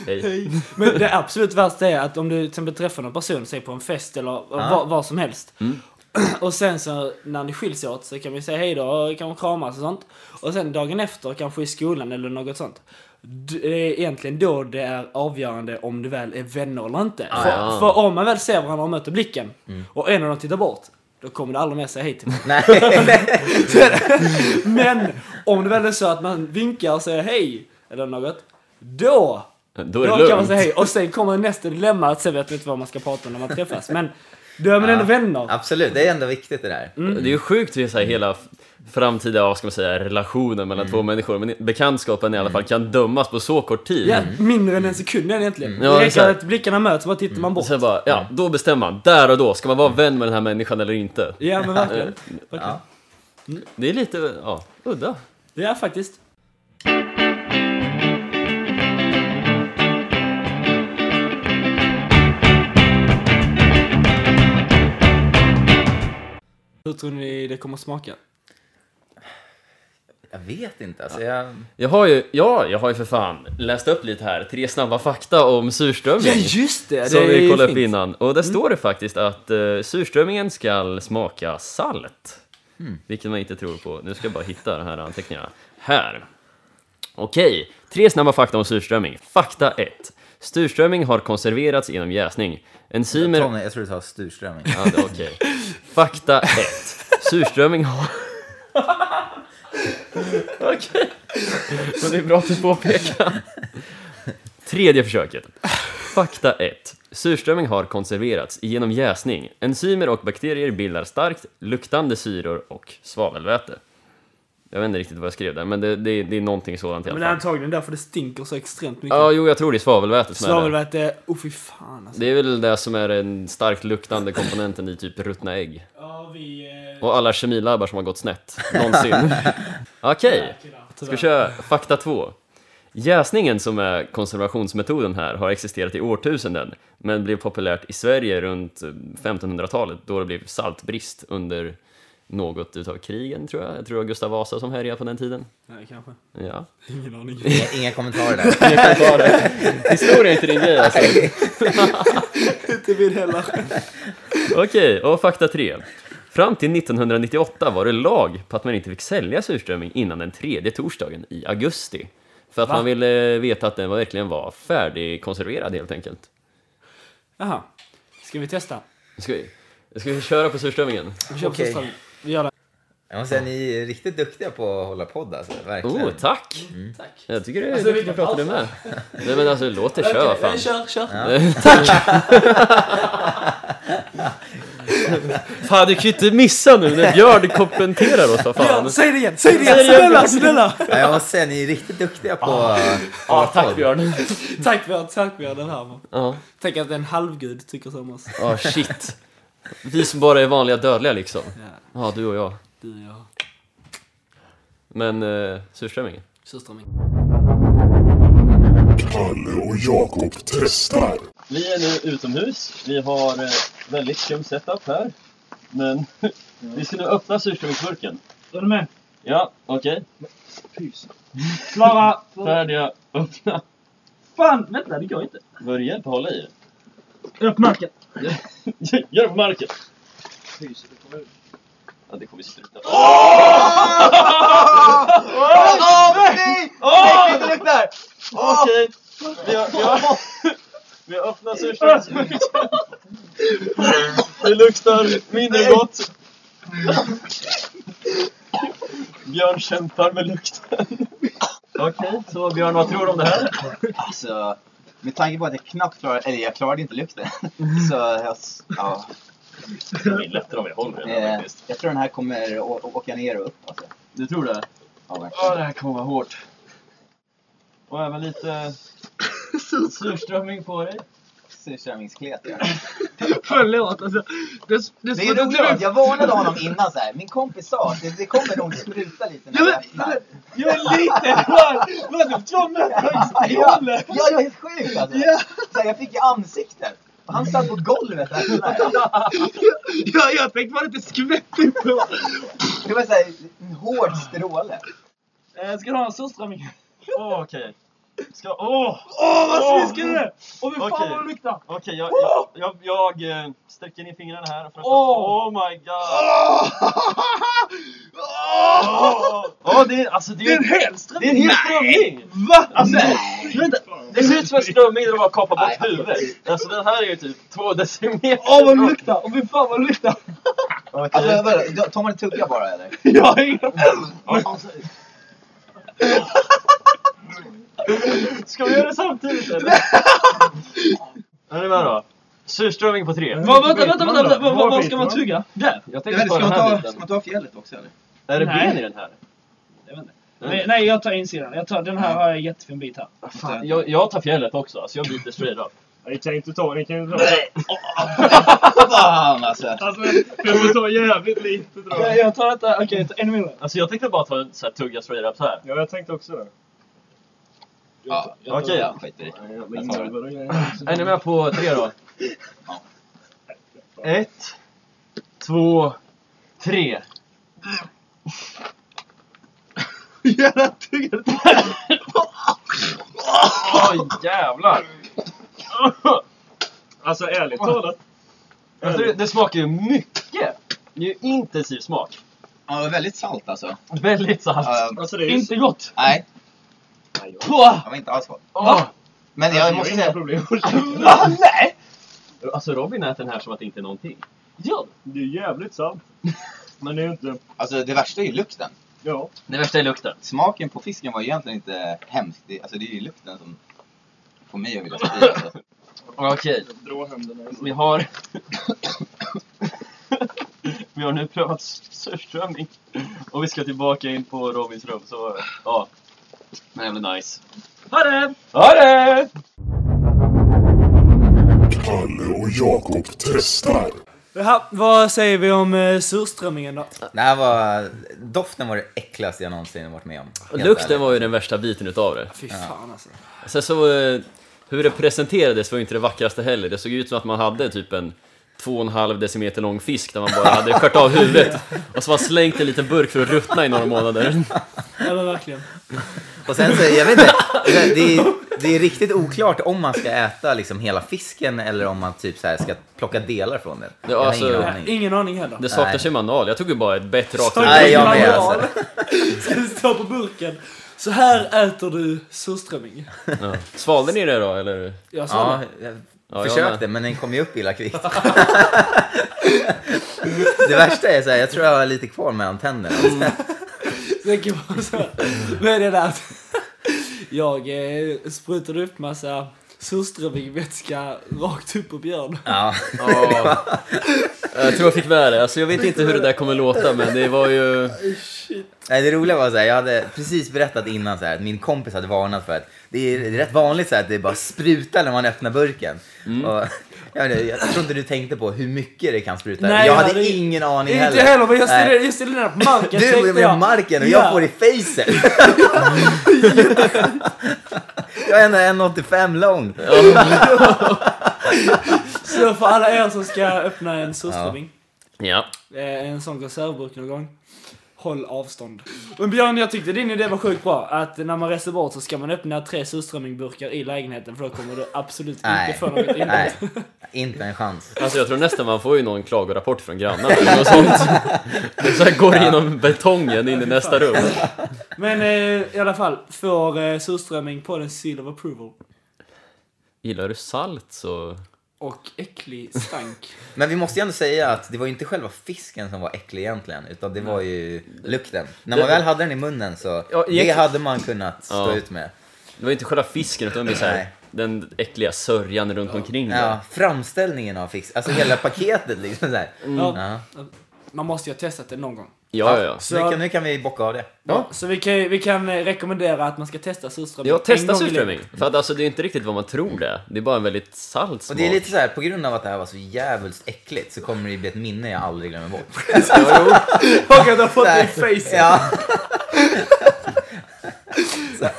[SPEAKER 1] hej.
[SPEAKER 3] Men det absolut värsta är att om du till exempel träffar någon person, säg på en fest eller vad, vad som helst.
[SPEAKER 1] Mm.
[SPEAKER 3] Och sen så när ni skiljs åt så kan vi säga hej då och kan man kramas och sånt. Och sen dagen efter, kanske i skolan eller något sånt. d- Det är egentligen då det är avgörande om du väl är vänner eller inte.
[SPEAKER 1] Ah,
[SPEAKER 3] för,
[SPEAKER 1] ja. Mm.
[SPEAKER 3] för om man väl ser varandra och möter blicken och en av dem tittar bort, då kommer du aldrig mer säga hej till mig.
[SPEAKER 2] Nej.
[SPEAKER 3] Men om det väl är så att man vinkar och säger hej eller något, då,
[SPEAKER 1] Då är det
[SPEAKER 3] då
[SPEAKER 1] lugnt.
[SPEAKER 3] kan man säga hej. Och sen kommer nästa dilemma att sen vet man inte vad man ska prata om när man träffas. Men då Mm. är man ändå vänner.
[SPEAKER 2] Absolut, det är ändå viktigt det där.
[SPEAKER 1] Det är ju sjukt hur så här, hela f- framtida vad ska man säga, relationen
[SPEAKER 3] Mm.
[SPEAKER 1] mellan två människor, men bekantskapen i alla fall, kan dömas på så kort tid.
[SPEAKER 3] Ja, mindre än en sekund är det egentligen.
[SPEAKER 1] Mm. Ja, Mm. det
[SPEAKER 3] Det
[SPEAKER 1] är så
[SPEAKER 3] räcker
[SPEAKER 1] här.
[SPEAKER 3] att blickarna möts och bara tittar man bort.
[SPEAKER 1] Sen bara, ja, då bestämmer man, där och då, ska man vara vän med den här människan eller inte?
[SPEAKER 3] Ja men verkligen.
[SPEAKER 2] Ja.
[SPEAKER 1] Det är lite, ja, udda.
[SPEAKER 3] Det är faktiskt. Hur tror ni det kommer smaka?
[SPEAKER 2] Jag vet inte, alltså jag...
[SPEAKER 1] Jag har ju, ja, jag har ju för fan läst upp lite här, tre snabba fakta om surströmming.
[SPEAKER 3] Ja just det!
[SPEAKER 1] som
[SPEAKER 3] det
[SPEAKER 1] vi
[SPEAKER 3] är
[SPEAKER 1] kollade upp
[SPEAKER 3] fint. Mm.
[SPEAKER 1] innan. Och där står det faktiskt att eh, surströmmingen ska smaka salt.
[SPEAKER 3] Hmm.
[SPEAKER 1] Vilket man inte tror på. Nu ska jag bara hitta den här anteckningarna. Här. Okej, tre snabba fakta om surströmming. Fakta 1. Surströmming har konserverats genom jäsning. Enzymer...
[SPEAKER 2] Tommy, jag tror du sa surströmming.
[SPEAKER 1] Ja, det är okej. Fakta 1. Surströmming har... okej. Men det är bra att du påpekar. Tredje försöket. Fakta 1. Surströmming har konserverats genom jäsning. Enzymer och bakterier bildar starkt luktande syror och svavelväte. Jag vet inte riktigt vad jag skrev där, men det, det, är- det är någonting sådant i
[SPEAKER 3] Men
[SPEAKER 1] alla
[SPEAKER 3] det är
[SPEAKER 1] fall.
[SPEAKER 3] antagligen därför det stinker så extremt mycket.
[SPEAKER 1] Ja, jo, jag tror det är svavelvätet som är det.
[SPEAKER 3] Svavelväte, oh fy fan alltså.
[SPEAKER 1] Det är väl det som är den starkt luktande komponenten i typ ruttna ägg.
[SPEAKER 3] Ja vi... Eh,
[SPEAKER 1] Och alla kemilabbar som har gått snett, någonsin. Okej, ska vi köra fakta två. Jäsningen som är konservationsmetoden här har existerat i årtusenden men blev populärt i Sverige runt eh, 1500-talet då det blev saltbrist under
[SPEAKER 4] något utav krigen tror jag. Jag tror det var Gustav Vasa som härjade på den tiden.
[SPEAKER 3] Nej, kanske.
[SPEAKER 4] Ja.
[SPEAKER 3] Ingen aning.
[SPEAKER 2] Inga, inga kommentarer där.
[SPEAKER 4] Historia är inte din grej alltså.
[SPEAKER 3] Inte min heller.
[SPEAKER 4] Okej, och fakta tre. Fram till 1998 var det lag på att man inte fick sälja surströmming innan den tredje torsdagen i augusti. För att
[SPEAKER 3] Va?
[SPEAKER 4] man ville veta att den verkligen var färdigkonserverad helt enkelt.
[SPEAKER 3] Jaha. Ska vi testa?
[SPEAKER 4] Ska vi, ska vi köra på surströmmingen?
[SPEAKER 3] Vi kör på
[SPEAKER 2] Okej.
[SPEAKER 3] sista. Vi gör det.
[SPEAKER 2] Jag måste säga, ni är riktigt duktiga på att hålla podd alltså. Verkligen.
[SPEAKER 4] Oh, tack!
[SPEAKER 3] Tack.
[SPEAKER 4] Jag tycker det är
[SPEAKER 3] Alltså,
[SPEAKER 4] duktigt att
[SPEAKER 3] vilken
[SPEAKER 4] prata du med. Nej men alltså låt det köra fan.
[SPEAKER 3] kör, kör.
[SPEAKER 4] Fan du kan ju inte missa nu när Björn kommenterar oss, vad fan.
[SPEAKER 3] Björn, säg det igen, säg det igen,
[SPEAKER 4] Säg det igen.
[SPEAKER 3] snälla, snälla!
[SPEAKER 2] Ja, jag måste säga, ni är riktigt duktiga på
[SPEAKER 3] Ah.
[SPEAKER 2] att
[SPEAKER 4] Ja,
[SPEAKER 2] hålla
[SPEAKER 4] tack
[SPEAKER 2] podd.
[SPEAKER 4] Björn.
[SPEAKER 3] Tack Björn, tack Björn, den här var.
[SPEAKER 4] Ja,
[SPEAKER 3] Tänk att en halvgud tycker som oss.
[SPEAKER 4] Ja, shit. Vi som bara är vanliga dödliga liksom.
[SPEAKER 3] Ja,
[SPEAKER 4] Ja, du och jag.
[SPEAKER 3] du och jag.
[SPEAKER 4] Men eh, surströmmingen.
[SPEAKER 3] Surströmming.
[SPEAKER 5] Kalle och Jakob testar.
[SPEAKER 1] Vi är nu utomhus. Vi har eh, väldigt skum setup här. Men vi ska nu öppna surströmmingsburken.
[SPEAKER 6] Är du med?
[SPEAKER 1] Ja, okej.
[SPEAKER 6] Klara!
[SPEAKER 1] Färdiga, öppna.
[SPEAKER 6] Fan! Vänta, det går inte.
[SPEAKER 1] Vad är det hjälp att hålla i?
[SPEAKER 6] Upp marken!
[SPEAKER 1] Gör det på marken! Ja, det kommer sluta. Okej! Vi har, vi har, vi har öppnat surströmmingsburken. Det luktar mindre gott. Björn kämpar med lukten. Okej, så Björn, vad tror du om det här?
[SPEAKER 7] Så med tanke på att jag knappt klarade, eller jag klarade inte lukten.
[SPEAKER 6] Mm.
[SPEAKER 7] Så jag, s- ja,
[SPEAKER 1] Det är lättare om jag håller den här
[SPEAKER 7] eh,
[SPEAKER 1] faktiskt.
[SPEAKER 7] jag tror den här kommer å- å- åka ner och upp alltså.
[SPEAKER 1] Du tror det?
[SPEAKER 7] Ja, verkligen.
[SPEAKER 1] Ja, det här kommer vara hårt. Och även lite surströmming på dig.
[SPEAKER 7] Surströmmingsklet ja.
[SPEAKER 6] Förlåt alltså. Det, det,
[SPEAKER 7] Det är roligt att jag varnade honom innan så här. Min kompis sa att det, det kommer nog spruta lite när
[SPEAKER 6] Ja,
[SPEAKER 7] vi
[SPEAKER 6] men-
[SPEAKER 7] öppnar.
[SPEAKER 6] Jag är lite skör! Vad du två
[SPEAKER 7] Ja, ja, ja, jag är helt sjuk alltså. Så här, jag fick i ansiktet. Och han satt på golvet och öppnade.
[SPEAKER 6] Ja, jag tänkte bara inte skvätter på.
[SPEAKER 7] Det var såhär en hård stråle.
[SPEAKER 6] Eh, ska du ha en surströmming?
[SPEAKER 1] Åh, Okej. Ska... Åh!
[SPEAKER 6] Åh, vad
[SPEAKER 1] Åh.
[SPEAKER 6] sviskar det! Och fy fan
[SPEAKER 1] Okej.
[SPEAKER 6] vad det luktar!
[SPEAKER 1] Okej, jag, jag, jag, jag eh, sträcker ner fingrarna här för att...
[SPEAKER 6] Åh.
[SPEAKER 1] Oh my god! Åh! Åh, det är, alltså, det
[SPEAKER 6] Det är
[SPEAKER 1] är,
[SPEAKER 6] en hel
[SPEAKER 1] det är en
[SPEAKER 6] strömming!
[SPEAKER 1] hel strömming!
[SPEAKER 6] Va? Alltså,
[SPEAKER 1] Vänta, det ser ut som en strömming där de bara kapar bort huvudet. Alltså den här är ju typ två decimeter
[SPEAKER 6] Åh vad det
[SPEAKER 1] lång.
[SPEAKER 6] luktar! Och fy fan vad det luktar!
[SPEAKER 1] Okej.
[SPEAKER 7] Alltså, vadå, tar man en tugga bara eller?
[SPEAKER 6] Jag har ingen
[SPEAKER 1] Ska vi göra det samtidigt eller? är ni med då? Surströmming på tre.
[SPEAKER 6] Va, vänta, vänta, vänta, vänta. Var, var ska man tugga? Där!
[SPEAKER 1] Jag tänker ta den här biten.
[SPEAKER 7] ta fjället också eller?
[SPEAKER 1] Är det
[SPEAKER 6] Nej.
[SPEAKER 1] ben i den här?
[SPEAKER 6] Jag vet inte.
[SPEAKER 1] Mm.
[SPEAKER 6] Nej, Nej, jag tar insidan. Jag tar, den här har jag en jättefin bit här.
[SPEAKER 1] Fan, jag, jag tar fjället också, alltså jag byter straight up.
[SPEAKER 8] Ni kan inte ta, ni kan inte ta.
[SPEAKER 7] Fan alltså.
[SPEAKER 8] Alltså, jag får ta jävligt lite tror
[SPEAKER 6] Jag,
[SPEAKER 8] jag.
[SPEAKER 6] jag tar detta, okej, jag tar ännu mindre.
[SPEAKER 1] Alltså jag tänkte bara ta en så här, tugga straight up så här.
[SPEAKER 8] Ja, jag tänkte också det.
[SPEAKER 7] Ja,
[SPEAKER 1] Okej
[SPEAKER 7] ja, skit i det. Jag
[SPEAKER 8] Alltså,
[SPEAKER 7] tar det.
[SPEAKER 1] Är ni med på tre då? Ett, två, tre. Åh jävlar!
[SPEAKER 8] Alltså ärligt talat.
[SPEAKER 1] Alltså, det, det smakar ju mycket! Det är ju intensiv smak.
[SPEAKER 7] Ja, det var väldigt salt alltså.
[SPEAKER 1] Väldigt salt.
[SPEAKER 7] Ja,
[SPEAKER 8] Alltså det är
[SPEAKER 6] Inte gott!
[SPEAKER 7] nej,
[SPEAKER 1] Pah!
[SPEAKER 7] det var inte alls gott.
[SPEAKER 1] Åh!
[SPEAKER 7] Men jag
[SPEAKER 8] jag
[SPEAKER 7] måste
[SPEAKER 8] har inga
[SPEAKER 7] säga...
[SPEAKER 8] problem.
[SPEAKER 7] Ah, nej!
[SPEAKER 1] Alltså Robin äter den här som att det inte är någonting.
[SPEAKER 6] Gör
[SPEAKER 8] Det är jävligt sant. Men det är ju inte...
[SPEAKER 7] Alltså det värsta är ju lukten.
[SPEAKER 8] Ja.
[SPEAKER 1] Det värsta är lukten.
[SPEAKER 7] Smaken på fisken var egentligen inte hemsk. Det, alltså det är ju lukten som får mig att vilja spy. Alltså.
[SPEAKER 1] Okej,
[SPEAKER 8] Dra händerna.
[SPEAKER 1] vi har... vi har nu prövat surströmming. Och vi ska tillbaka in på Robins rum, så ja. Det här blir nice. Ha det! Ha det!
[SPEAKER 5] Kalle och Jakob testar.
[SPEAKER 3] Jaha, vad säger vi om eh, surströmmingen då?
[SPEAKER 2] Det här var... Doften var det äckligaste jag någonsin varit med om.
[SPEAKER 4] Och
[SPEAKER 2] Helt
[SPEAKER 4] Lukten
[SPEAKER 2] ärligt.
[SPEAKER 4] var ju den värsta biten utav det.
[SPEAKER 3] Fy fan alltså.
[SPEAKER 4] Sen så, eh, hur det presenterades var ju inte det vackraste heller. Det såg ut som att man hade typ en
[SPEAKER 1] två och en halv decimeter lång fisk där man bara hade skört av huvudet och så var slängt i en liten burk för att ruttna i några månader.
[SPEAKER 3] Ja men verkligen.
[SPEAKER 2] Och sen så, jag vet inte, det är, det är riktigt oklart om man ska äta liksom hela fisken eller om man typ så här ska plocka delar från den. Jag har
[SPEAKER 1] alltså-
[SPEAKER 2] ingen
[SPEAKER 3] Ja,
[SPEAKER 2] aning.
[SPEAKER 3] Äh, ingen aning heller.
[SPEAKER 1] Det saknas
[SPEAKER 2] Nej.
[SPEAKER 1] ju manual, jag tog ju bara ett bett rakt
[SPEAKER 3] Sorry.
[SPEAKER 2] Nej,
[SPEAKER 1] över.
[SPEAKER 2] jag med alltså.
[SPEAKER 3] Ska det stå på burken? Så här äter du surströmming.
[SPEAKER 1] Ja. Svalde ni det då eller?
[SPEAKER 3] Jag sa
[SPEAKER 2] Ja,
[SPEAKER 3] det.
[SPEAKER 2] jag
[SPEAKER 1] Ja, jag
[SPEAKER 2] försökte,
[SPEAKER 1] med.
[SPEAKER 2] men den kom ju upp illa kvickt. det värsta är så här, jag tror jag har lite kvar mellan tänderna.
[SPEAKER 3] Det kan vara så. Men det där att jag eh, sprutade upp massa surströmmingsvätska rakt upp på Björn.
[SPEAKER 2] Ja,
[SPEAKER 1] Ja. Jag tror jag fick med det, alltså jag vet inte hur det där kommer låta men det var ju...
[SPEAKER 2] Nej, det roliga var så här, jag hade precis berättat innan så här, att min kompis hade varnat för att det är, det är rätt vanligt så här, att det bara sprutar när man öppnar burken.
[SPEAKER 3] Mm.
[SPEAKER 2] Och, jag, vet inte, jag tror inte du tänkte på hur mycket det kan spruta.
[SPEAKER 3] Nej,
[SPEAKER 2] jag
[SPEAKER 3] jag
[SPEAKER 2] hade
[SPEAKER 3] hade
[SPEAKER 2] ingen aning
[SPEAKER 3] Inte
[SPEAKER 2] heller.
[SPEAKER 3] heller, men jag
[SPEAKER 2] Nej.
[SPEAKER 3] ställde, jag ställde den här på marken
[SPEAKER 2] Du
[SPEAKER 3] tänkte
[SPEAKER 2] blir
[SPEAKER 3] jag.
[SPEAKER 2] med marken och
[SPEAKER 3] Ja.
[SPEAKER 2] jag får i facet. jag är ändå 1,85 lång.
[SPEAKER 3] Så för alla er som ska öppna en surströmming,
[SPEAKER 1] Ja.
[SPEAKER 3] eh, en sån konservburk någon gång. Håll avstånd. Men Björn, jag tyckte din idé var sjukt bra. Att när man reser bort så ska man öppna tre surströmmingburkar i lägenheten för då kommer du absolut
[SPEAKER 2] Nej.
[SPEAKER 3] inte få något inbrott.
[SPEAKER 2] Nej, inte en chans.
[SPEAKER 1] Alltså jag tror nästan man får ju någon klagorapport från grannarna eller något sånt. Det så här går genom betongen in i nästa rum.
[SPEAKER 3] Men eh, i alla fall, får eh, surströmming på den seal of approval.
[SPEAKER 1] Gillar du salt så...
[SPEAKER 3] Och äcklig stank.
[SPEAKER 2] Men vi måste ju ändå säga att det var ju inte själva fisken som var äcklig egentligen, utan det var ju lukten. När man väl hade den i munnen så, det
[SPEAKER 1] egentligen-
[SPEAKER 2] hade man kunnat stå
[SPEAKER 1] Ja.
[SPEAKER 2] ut med.
[SPEAKER 1] Det var inte själva fisken utan det var så här,
[SPEAKER 2] Nej.
[SPEAKER 1] den äckliga sörjan runt omkring den.
[SPEAKER 2] Ja, framställningen av fisk, alltså hela paketet liksom så här.
[SPEAKER 3] Ja,
[SPEAKER 2] Ja.
[SPEAKER 3] man måste ju ha testat det någon gång.
[SPEAKER 1] Ja, ja, ja.
[SPEAKER 2] Så nu kan, nu kan vi bocka av det.
[SPEAKER 1] Ja.
[SPEAKER 3] Så vi kan, ju- vi kan eh, rekommendera att man ska testa surströmming
[SPEAKER 1] Jag testar
[SPEAKER 3] en gång i
[SPEAKER 1] surströmming.
[SPEAKER 3] livet.
[SPEAKER 1] För att alltså det är inte riktigt vad man tror det är. Det är bara en väldigt salt
[SPEAKER 2] Och
[SPEAKER 1] smak.
[SPEAKER 2] det är lite så här, på grund av att det här var så jävligt äckligt så kommer det ju bli ett minne jag aldrig glömmer bort.
[SPEAKER 3] Och att du har fått det i
[SPEAKER 2] Nej.
[SPEAKER 3] face.
[SPEAKER 2] Ja,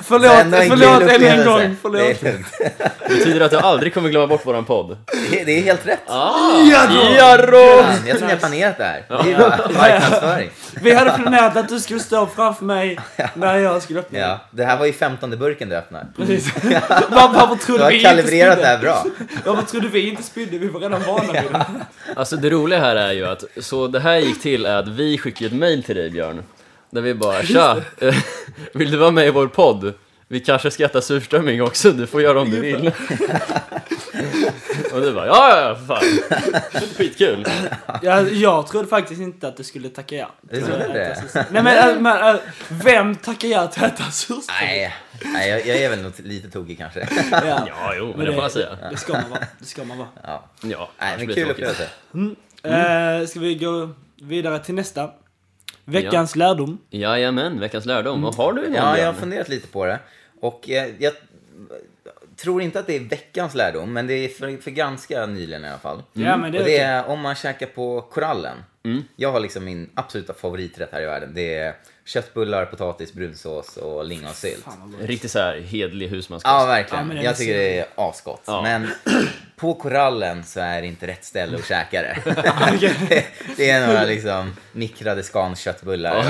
[SPEAKER 3] Förlåt,
[SPEAKER 2] så ändå en
[SPEAKER 3] förlåt
[SPEAKER 2] kul
[SPEAKER 3] än en
[SPEAKER 2] upplevelse.
[SPEAKER 3] gång. Förlåt.
[SPEAKER 2] Det är, lugnt.
[SPEAKER 1] Det betyder att jag aldrig kommer glömma bort våran podd.
[SPEAKER 2] Det är- det är helt rätt.
[SPEAKER 1] Ah!
[SPEAKER 2] Fan, jag tror ni har planerat det här. Det är bara marknadsföring.
[SPEAKER 3] Vi hade planerat att du skulle stå framför mig när jag skulle öppna.
[SPEAKER 2] Ja, det här var ju femtonde burken du öppnade.
[SPEAKER 3] Precis. Var- Varför
[SPEAKER 2] Du
[SPEAKER 3] trodde vi
[SPEAKER 2] har
[SPEAKER 3] inte
[SPEAKER 2] kalibrerat det
[SPEAKER 3] spydde?
[SPEAKER 2] här bra.
[SPEAKER 3] Varför trodde vi inte spydde? Vi var redan vana vid det.
[SPEAKER 1] Alltså det roliga här är ju att, så det här gick till är att vi skickade ett mail till dig Björn. Där vi bara tja, eh, vill du vara med i vår podd? Vi kanske ska äta surströmming också, du får göra om du vill. Och du bara ja, ja, ja, för fan. Skitkul.
[SPEAKER 3] Jag, jag trodde faktiskt inte att du skulle tacka ja.
[SPEAKER 2] Du trodde det?
[SPEAKER 3] Nej men, äh, men äh, vem tackar ja till att äta surströmming?
[SPEAKER 2] Nej, nej jag, jag är väl nog lite tokig kanske.
[SPEAKER 3] Ja.
[SPEAKER 1] Ja, jo, men det får man säga.
[SPEAKER 3] Det ska man vara. Det ska man vara.
[SPEAKER 2] Ja.
[SPEAKER 1] Ja,
[SPEAKER 2] Nej,
[SPEAKER 1] annars blir
[SPEAKER 2] men
[SPEAKER 1] det
[SPEAKER 2] kul
[SPEAKER 1] tråkigt.
[SPEAKER 2] upplevelse. Mm.
[SPEAKER 3] Eh, ska vi gå vidare till nästa? Veckans lärdom.
[SPEAKER 1] Mm. Jajamän, veckans lärdom. Och har du någon
[SPEAKER 2] Ja, jag har
[SPEAKER 1] Björn?
[SPEAKER 2] funderat lite på det. Och eh, jag tror inte att det är veckans lärdom, men det är för, för ganska nyligen i alla fall.
[SPEAKER 3] Ja, men det är typ- Mm.
[SPEAKER 2] och det är om man käkar på korallen. Jag har liksom min absoluta favoriträtt här i världen. Det är köttbullar, potatis, brunsås och lingonsylt.
[SPEAKER 3] Fan vad gott.
[SPEAKER 1] Riktigt så här hedlig husmanskost.
[SPEAKER 2] Ja,
[SPEAKER 3] Ja,
[SPEAKER 2] verkligen.
[SPEAKER 3] men den är
[SPEAKER 2] jag tycker det är asgott.
[SPEAKER 1] Ja.
[SPEAKER 2] Men på korallen så är det inte rätt ställe att käka det. Det- det är några liksom mikrade skanköttbullar.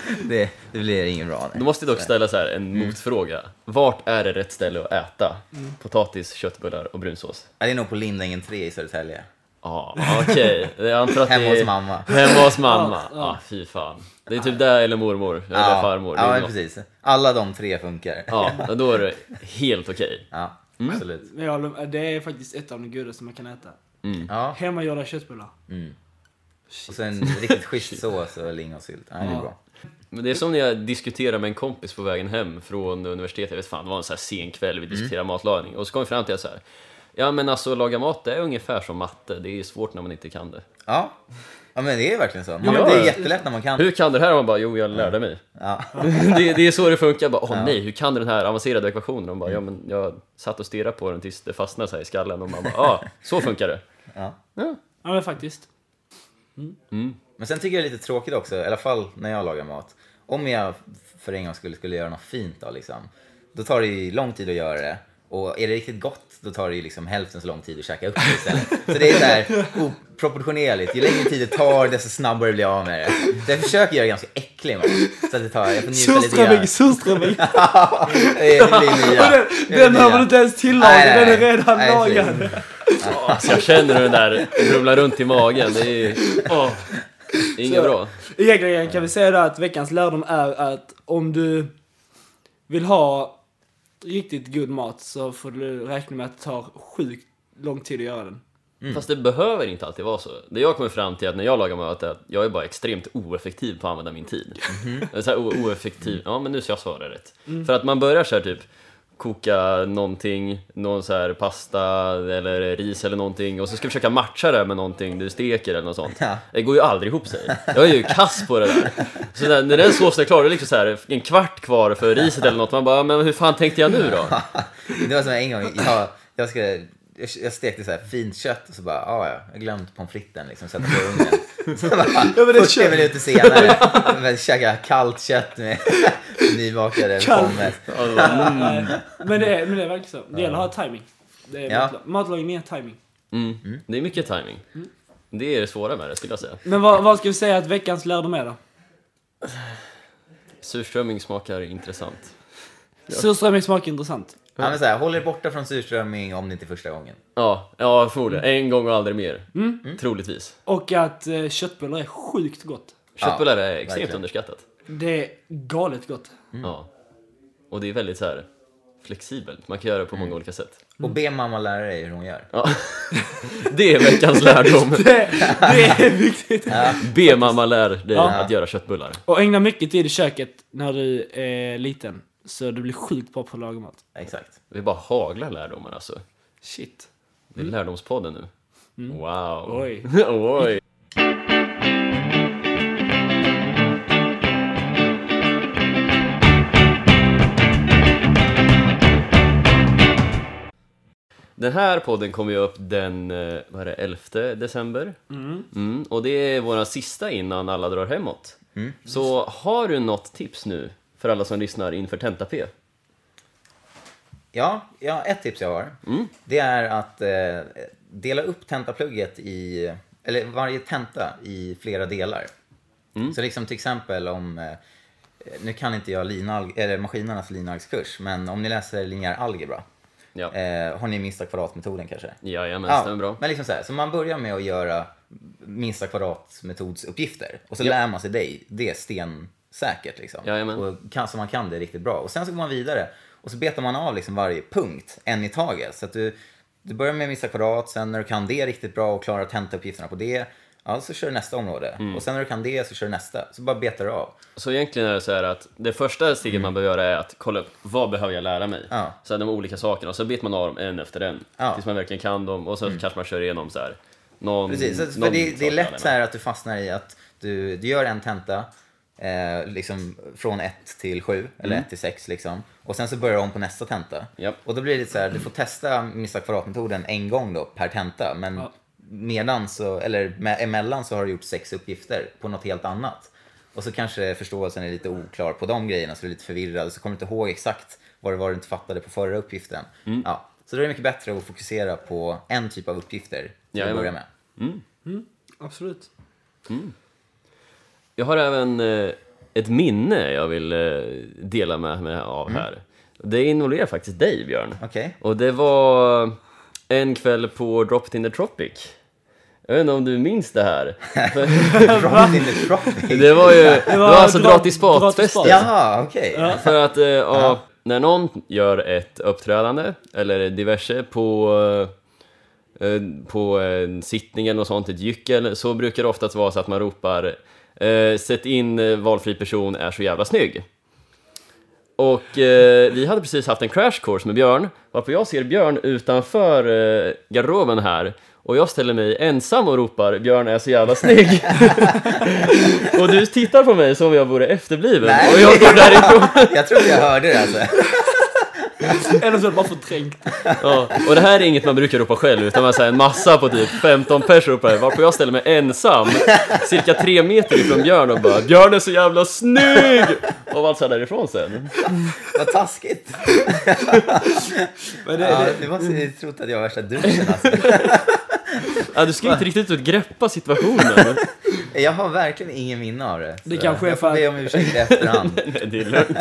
[SPEAKER 2] det, det blir ingen bra.
[SPEAKER 1] Då
[SPEAKER 2] nej.
[SPEAKER 1] måste jag dock ställa så här en
[SPEAKER 2] Mm.
[SPEAKER 1] motfråga. Vart är det rätt ställe att äta potatis, köttbullar och brunsås?
[SPEAKER 2] Ja, Det är nog på Lindängen 3 i Södertälje.
[SPEAKER 1] Ja, okej. Jag antar att det
[SPEAKER 2] Hemma
[SPEAKER 1] är-
[SPEAKER 2] hos mamma.
[SPEAKER 1] Hemma hos mamma.
[SPEAKER 3] Ja,
[SPEAKER 1] Ja,
[SPEAKER 3] ja.
[SPEAKER 1] fy fan. Det är typ där eller mormor, eller farmor. Det är
[SPEAKER 2] ja men
[SPEAKER 1] något.
[SPEAKER 2] precis. Alla de tre funkar. Ja,
[SPEAKER 1] Ja, Mm. då är det helt okej.
[SPEAKER 2] absolut.
[SPEAKER 3] Men jag håller- det är faktiskt ett av de godaste man kan äta.
[SPEAKER 2] Ja.
[SPEAKER 3] Hemmagjorda köttbullar.
[SPEAKER 2] Och så en riktigt schysst sås och lingonsylt. Ja, det är bra.
[SPEAKER 1] Men det är som när jag diskuterar med en kompis på vägen hem från universitetet. Jag vet fan, det var en så här sen kväll vi
[SPEAKER 2] Mm.
[SPEAKER 1] diskuterade matlagning. Och så kom vi fram till att så här. Ja men alltså laga mat det är ungefär som matte, det är svårt när man inte kan det.
[SPEAKER 2] Ja. ja, men det är verkligen så. Man,
[SPEAKER 1] Ja.
[SPEAKER 2] Det är jättelätt när man kan.
[SPEAKER 1] Hur kan du det här? Och man bara, jo jag lärde mig.
[SPEAKER 2] Ja.
[SPEAKER 1] det, det är så det funkar. Jag bara, åh nej, hur kan du den här avancerade ekvationen? De bara, ja men jag satt och stirrade på den tills det fastnade så här i skallen och man bara, ja, så funkar det.
[SPEAKER 3] Ja men faktiskt.
[SPEAKER 2] Men sen tycker jag det är lite tråkigt också, i alla fall när jag lagar mat. Om jag för en gång skulle, skulle göra något fint då liksom. Då tar det ju lång tid att göra det. Och är det riktigt gott då tar det ju liksom hälften så lång tid att käka upp det istället. Så det är så här oproportionerligt. Ju längre tid det tar desto snabbare blir jag av med det. Så jag försöker göra det ganska äcklig mat. Så att det tar, jag får njuta lite grann.
[SPEAKER 3] Surströmming, surströmming!
[SPEAKER 2] Det blir nya.
[SPEAKER 3] Och den,
[SPEAKER 2] Det blir
[SPEAKER 3] den har
[SPEAKER 2] nya.
[SPEAKER 3] man inte ens tillagat,
[SPEAKER 2] Nej, nej,
[SPEAKER 3] den är
[SPEAKER 2] nej.
[SPEAKER 3] redan
[SPEAKER 2] Nej, precis.
[SPEAKER 3] lagad.
[SPEAKER 1] Alltså, jag känner hur den där rumlar runt i magen. Det är ju... Åh. Det är inget
[SPEAKER 3] Så-
[SPEAKER 1] bra.
[SPEAKER 3] Egentligen kan vi säga då att veckans lärdom är att om du vill ha riktigt god mat så får du räkna med att det tar sjukt lång tid att göra den.
[SPEAKER 1] Fast det behöver inte alltid vara så. Det jag kommer fram till att när jag lagar mat är att jag är bara extremt oeffektiv på att använda min tid. mm Så här, o- oeffektiv, ja men nu ska jag svara rätt. För att man börjar så här typ koka någonting, någon så här pasta eller ris eller någonting och så ska jag försöka matcha det med någonting du steker eller något sånt. Det går ju aldrig ihop sig. Jag är ju kass på det där. Så när, när den såsen är klar, det är liksom så här en kvart kvar för riset eller något. Man bara, men hur fan tänkte jag nu då?
[SPEAKER 2] Det var som en gång, jag, jag, ska, jag, jag stekte så här fint kött och så bara, ah, ja, jag glömt pommes fritesen liksom, sätta på i ugnen. Så bara,
[SPEAKER 3] men det
[SPEAKER 2] 40
[SPEAKER 3] kör-
[SPEAKER 2] minuter senare, men käka kallt kött med nybakade
[SPEAKER 3] Kallt.
[SPEAKER 2] pommes.
[SPEAKER 3] Men, det är, men det är verkligen så. Det gäller att ha timing. Det är
[SPEAKER 2] Ja.
[SPEAKER 3] matla- Matlagning är timing.
[SPEAKER 1] Mm. Det är mycket timing. Det är det svåra med det skulle jag säga.
[SPEAKER 3] Men vad, vad ska vi säga att veckans lärdom är då?
[SPEAKER 1] Surströmming smakar intressant.
[SPEAKER 3] Surströmming smakar intressant.
[SPEAKER 2] Ja, men så här, håll er borta från surströmming om det inte är första gången.
[SPEAKER 1] Ja, ja förmodligen. En gång och aldrig mer. Troligtvis.
[SPEAKER 3] Och att eh, köttbullar är sjukt gott.
[SPEAKER 1] Köttbullar är extremt
[SPEAKER 2] verkligen.
[SPEAKER 1] underskattat.
[SPEAKER 3] Det är galet gott.
[SPEAKER 1] Ja. Och det är väldigt så här flexibelt. Man kan göra det på många olika sätt.
[SPEAKER 3] Mm.
[SPEAKER 2] Och be mamma lära dig hur hon gör.
[SPEAKER 1] Ja. Det är veckans lärdom.
[SPEAKER 3] Det, det är viktigt.
[SPEAKER 1] Be mamma lär dig
[SPEAKER 3] Ja.
[SPEAKER 1] att göra köttbullar.
[SPEAKER 3] Och ägna mycket tid i köket när du är liten. Så du blir sjukt bra på att laga mat.
[SPEAKER 2] Exakt.
[SPEAKER 1] Vi bara haglar lärdomar alltså.
[SPEAKER 3] Shit.
[SPEAKER 1] Det är lärdomspodden nu. Wow.
[SPEAKER 3] Oj.
[SPEAKER 1] Oj. Den här podden kommer ju upp den eh, vad är det, 11 december. Mm, och det är vår sista innan alla drar hemåt. Så har du något tips nu för alla som lyssnar inför tenta-P?
[SPEAKER 2] Ja, ja, ett tips jag har.
[SPEAKER 3] Mm.
[SPEAKER 2] Det är att eh, dela upp tentaplugget i, eller varje tenta i flera delar.
[SPEAKER 3] Mm.
[SPEAKER 2] Så liksom till exempel om, eh, nu kan inte jag linal, eller maskinernas linalgskurs, men om ni läser linjär algebra,
[SPEAKER 1] Ja.
[SPEAKER 2] eh, har ni minsta kvadratmetoden kanske?
[SPEAKER 1] Jajamän,
[SPEAKER 2] Ja,
[SPEAKER 1] stämmer bra.
[SPEAKER 2] Men liksom så, här, så man börjar med att göra minsta kvadratmetodsuppgifter och så lär man sig det, det är stensäkert. Liksom.
[SPEAKER 1] Jajamän.
[SPEAKER 2] Och kan, så man kan det riktigt bra. Och sen så går man vidare och så betar man av liksom varje punkt, en i taget. Så att du, du börjar med minsta kvadrat, sen när du kan det riktigt bra och klarar tentauppgifterna på det, ja, så kör du nästa område.
[SPEAKER 1] Mm.
[SPEAKER 2] Och sen när du kan det så kör du nästa. Så bara betar du av.
[SPEAKER 1] Så egentligen är det så här att det första steget man behöver göra är att kolla upp vad behöver jag lära mig?
[SPEAKER 2] Mm. Ja.
[SPEAKER 1] Så här, de olika sakerna och så betar man av dem en efter en
[SPEAKER 2] Ja. Mm.
[SPEAKER 1] tills man verkligen kan dem och så kanske man kör igenom så här någon,
[SPEAKER 2] Precis, så- för
[SPEAKER 1] någon
[SPEAKER 2] det, det är
[SPEAKER 1] sak
[SPEAKER 2] lätt
[SPEAKER 1] man
[SPEAKER 2] så här att du fastnar i att du, du gör en tenta eh, liksom från 1 till 7 eller 1 till 6 liksom. Och sen så börjar du om på nästa tenta.
[SPEAKER 1] Mm. Japp.
[SPEAKER 2] Och då blir det lite så här, du får testa minsta kvadratmetoden en gång då per tenta. Men
[SPEAKER 3] Ja.
[SPEAKER 2] medan så, eller me- emellan så har du gjort sex uppgifter på något helt annat. Och så kanske förståelsen är lite oklar på de grejerna så du är lite förvirrad och så kommer du inte ihåg exakt vad det var du inte fattade på förra uppgiften.
[SPEAKER 1] Mm.
[SPEAKER 2] Ja. Så då är det mycket bättre att fokusera på en typ av uppgifter till att
[SPEAKER 1] Jajamän.
[SPEAKER 2] börja med.
[SPEAKER 3] Absolut.
[SPEAKER 1] Jag har även eh, ett minne jag vill eh, dela med mig av
[SPEAKER 2] Mm.
[SPEAKER 1] här. Det involverar faktiskt dig Björn.
[SPEAKER 2] Okej.
[SPEAKER 1] Och det var en kväll på Dropped in the Tropic. Jag vet inte om du minns det här?
[SPEAKER 2] Dropped in the tropic?
[SPEAKER 1] Det var ju, det var alltså
[SPEAKER 3] dra-
[SPEAKER 1] dra till
[SPEAKER 3] dra till spat.
[SPEAKER 1] spat-festen.
[SPEAKER 2] Jaha, okej.
[SPEAKER 1] För att eh, ja, när någon gör ett uppträdande eller diverse på, eh, eh, på en sittning eller något sånt, ett gyckel, så brukar det oftast vara så att man ropar eh, “Sätt in eh, valfri person är så jävla snygg”. Och eh, vi hade precis haft en crash course med Björn, varpå jag ser Björn utanför eh, garderoben här och jag ställer mig ensam och ropar “Björn är så jävla snygg” och du tittar på mig som om jag vore efterbliven
[SPEAKER 2] Nej.
[SPEAKER 1] och jag går därifrån
[SPEAKER 2] Jag trodde jag hörde det alltså.
[SPEAKER 3] Eller så är det bara förträngt.
[SPEAKER 1] Ja, och det här är inget man brukar ropa själv utan man säger en massa på typ 15 pers ropar det, varpå jag ställer mig ensam cirka tre meter ifrån Björn och bara Björn är så jävla snygg! Och valsar därifrån sen.
[SPEAKER 2] Vad taskigt!
[SPEAKER 3] Men det,
[SPEAKER 2] Ja,
[SPEAKER 3] det,
[SPEAKER 2] du måste ju trott att jag var värsta duschen alltså.
[SPEAKER 1] Ja, du ska ju inte riktigt ut greppa situationen.
[SPEAKER 2] Jag har verkligen ingen minne av det. så
[SPEAKER 3] Det kanske är
[SPEAKER 2] jag får
[SPEAKER 3] för
[SPEAKER 2] be
[SPEAKER 3] att-
[SPEAKER 2] om ursäkt i efterhand.
[SPEAKER 1] Nej, det är lugnt.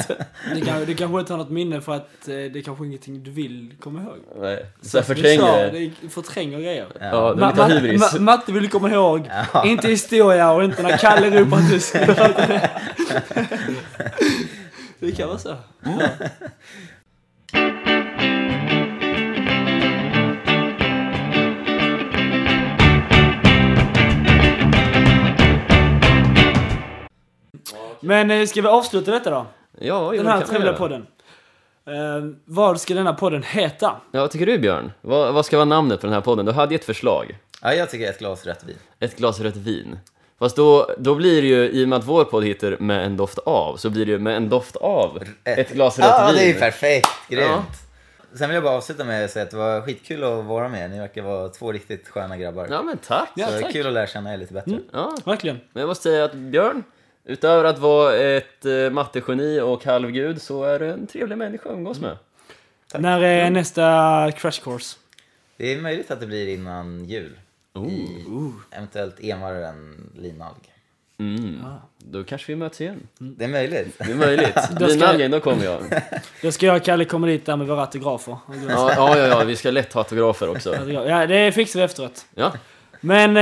[SPEAKER 3] det, kan, du kanske inte har något minne för att eh, det kanske är ingenting du vill komma ihåg.
[SPEAKER 1] Nej, så jag
[SPEAKER 3] Som du sa,
[SPEAKER 1] förtränger det.
[SPEAKER 3] det. Förtränger grejer.
[SPEAKER 1] Ja, det är
[SPEAKER 3] Ma-
[SPEAKER 1] lite
[SPEAKER 3] Ma-
[SPEAKER 1] hybris.
[SPEAKER 3] Ma- Matte vill komma ihåg.
[SPEAKER 2] Ja.
[SPEAKER 3] Inte historia och inte när Kalle ropar att du ska- Det kan vara så. Men eh, ska vi avsluta detta då?
[SPEAKER 1] Ja, jo,
[SPEAKER 3] Den
[SPEAKER 1] det
[SPEAKER 3] här
[SPEAKER 1] kan vi
[SPEAKER 3] trevliga
[SPEAKER 1] göra.
[SPEAKER 3] podden. Eh, vad ska denna podden heta?
[SPEAKER 1] Ja, vad tycker du Björn? Vad, vad ska vara namnet på den här podden? Du hade ju ett förslag.
[SPEAKER 2] Ja, jag tycker ett glas rött vin.
[SPEAKER 1] Ett glas rött vin. Fast då, då blir det ju, i och med att vår podd heter Med en doft av, så blir det ju Med en doft av ett glas rött
[SPEAKER 2] Ja,
[SPEAKER 1] vin.
[SPEAKER 2] det är ju perfekt. Grymt.
[SPEAKER 1] Ja.
[SPEAKER 2] Sen vill jag bara avsluta med att säga att det var skitkul att vara med. Ni verkar vara två riktigt sköna grabbar.
[SPEAKER 1] Ja, men tack.
[SPEAKER 3] Ja,
[SPEAKER 2] Så det är
[SPEAKER 3] tack. Mm.
[SPEAKER 2] kul att lära känna er lite bättre.
[SPEAKER 1] Ja,
[SPEAKER 3] Verkligen.
[SPEAKER 1] men jag måste säga att Björn, utöver att vara ett eh, mattegeni och halvgud så är du en trevlig människa att umgås med.
[SPEAKER 3] När är nästa crash course?
[SPEAKER 2] Det är möjligt att det blir innan jul. I eventuellt envarare än linalg.
[SPEAKER 1] Mm. Då kanske vi möts igen.
[SPEAKER 2] Det är möjligt.
[SPEAKER 1] Det är möjligt.
[SPEAKER 3] Då ska
[SPEAKER 1] Dina
[SPEAKER 3] jag-
[SPEAKER 1] algen, då kommer jag.
[SPEAKER 3] Då ska jag och Kalle komma dit där med våra autografer.
[SPEAKER 1] Ja, ja, ja, ja, vi ska lätt ha autografer också.
[SPEAKER 3] Ja, det fixar vi efteråt.
[SPEAKER 1] Ja.
[SPEAKER 3] Men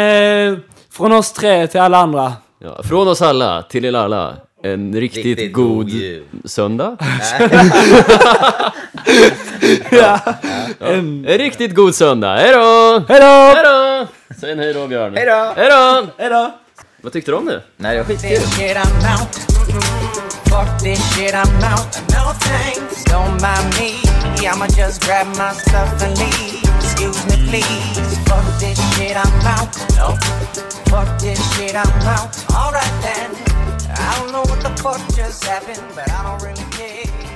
[SPEAKER 3] eh, från oss tre till alla andra.
[SPEAKER 1] Ja, från oss alla till er alla, en riktigt,
[SPEAKER 2] Riktigt god
[SPEAKER 1] god
[SPEAKER 2] jul.
[SPEAKER 1] söndag.
[SPEAKER 3] Ja. En...
[SPEAKER 1] En riktigt god söndag. Hej då!
[SPEAKER 3] Hej då!
[SPEAKER 1] Hej då! Säg en hej då, Björn.
[SPEAKER 2] Hej då!
[SPEAKER 1] Hej då!
[SPEAKER 3] Hej då!
[SPEAKER 1] Vad tyckte du om det?
[SPEAKER 2] Nej, det var skitkul.
[SPEAKER 9] this shit, I'm out. Fuck this shit, I'm out. No thanks. Don't mind me. I'ma just grab my stuff and leave. Excuse me, please. Fuck this shit, I'm out. No. Fuck this shit, I'm out. Alright then. I don't know what the fuck just happened, but I don't really care.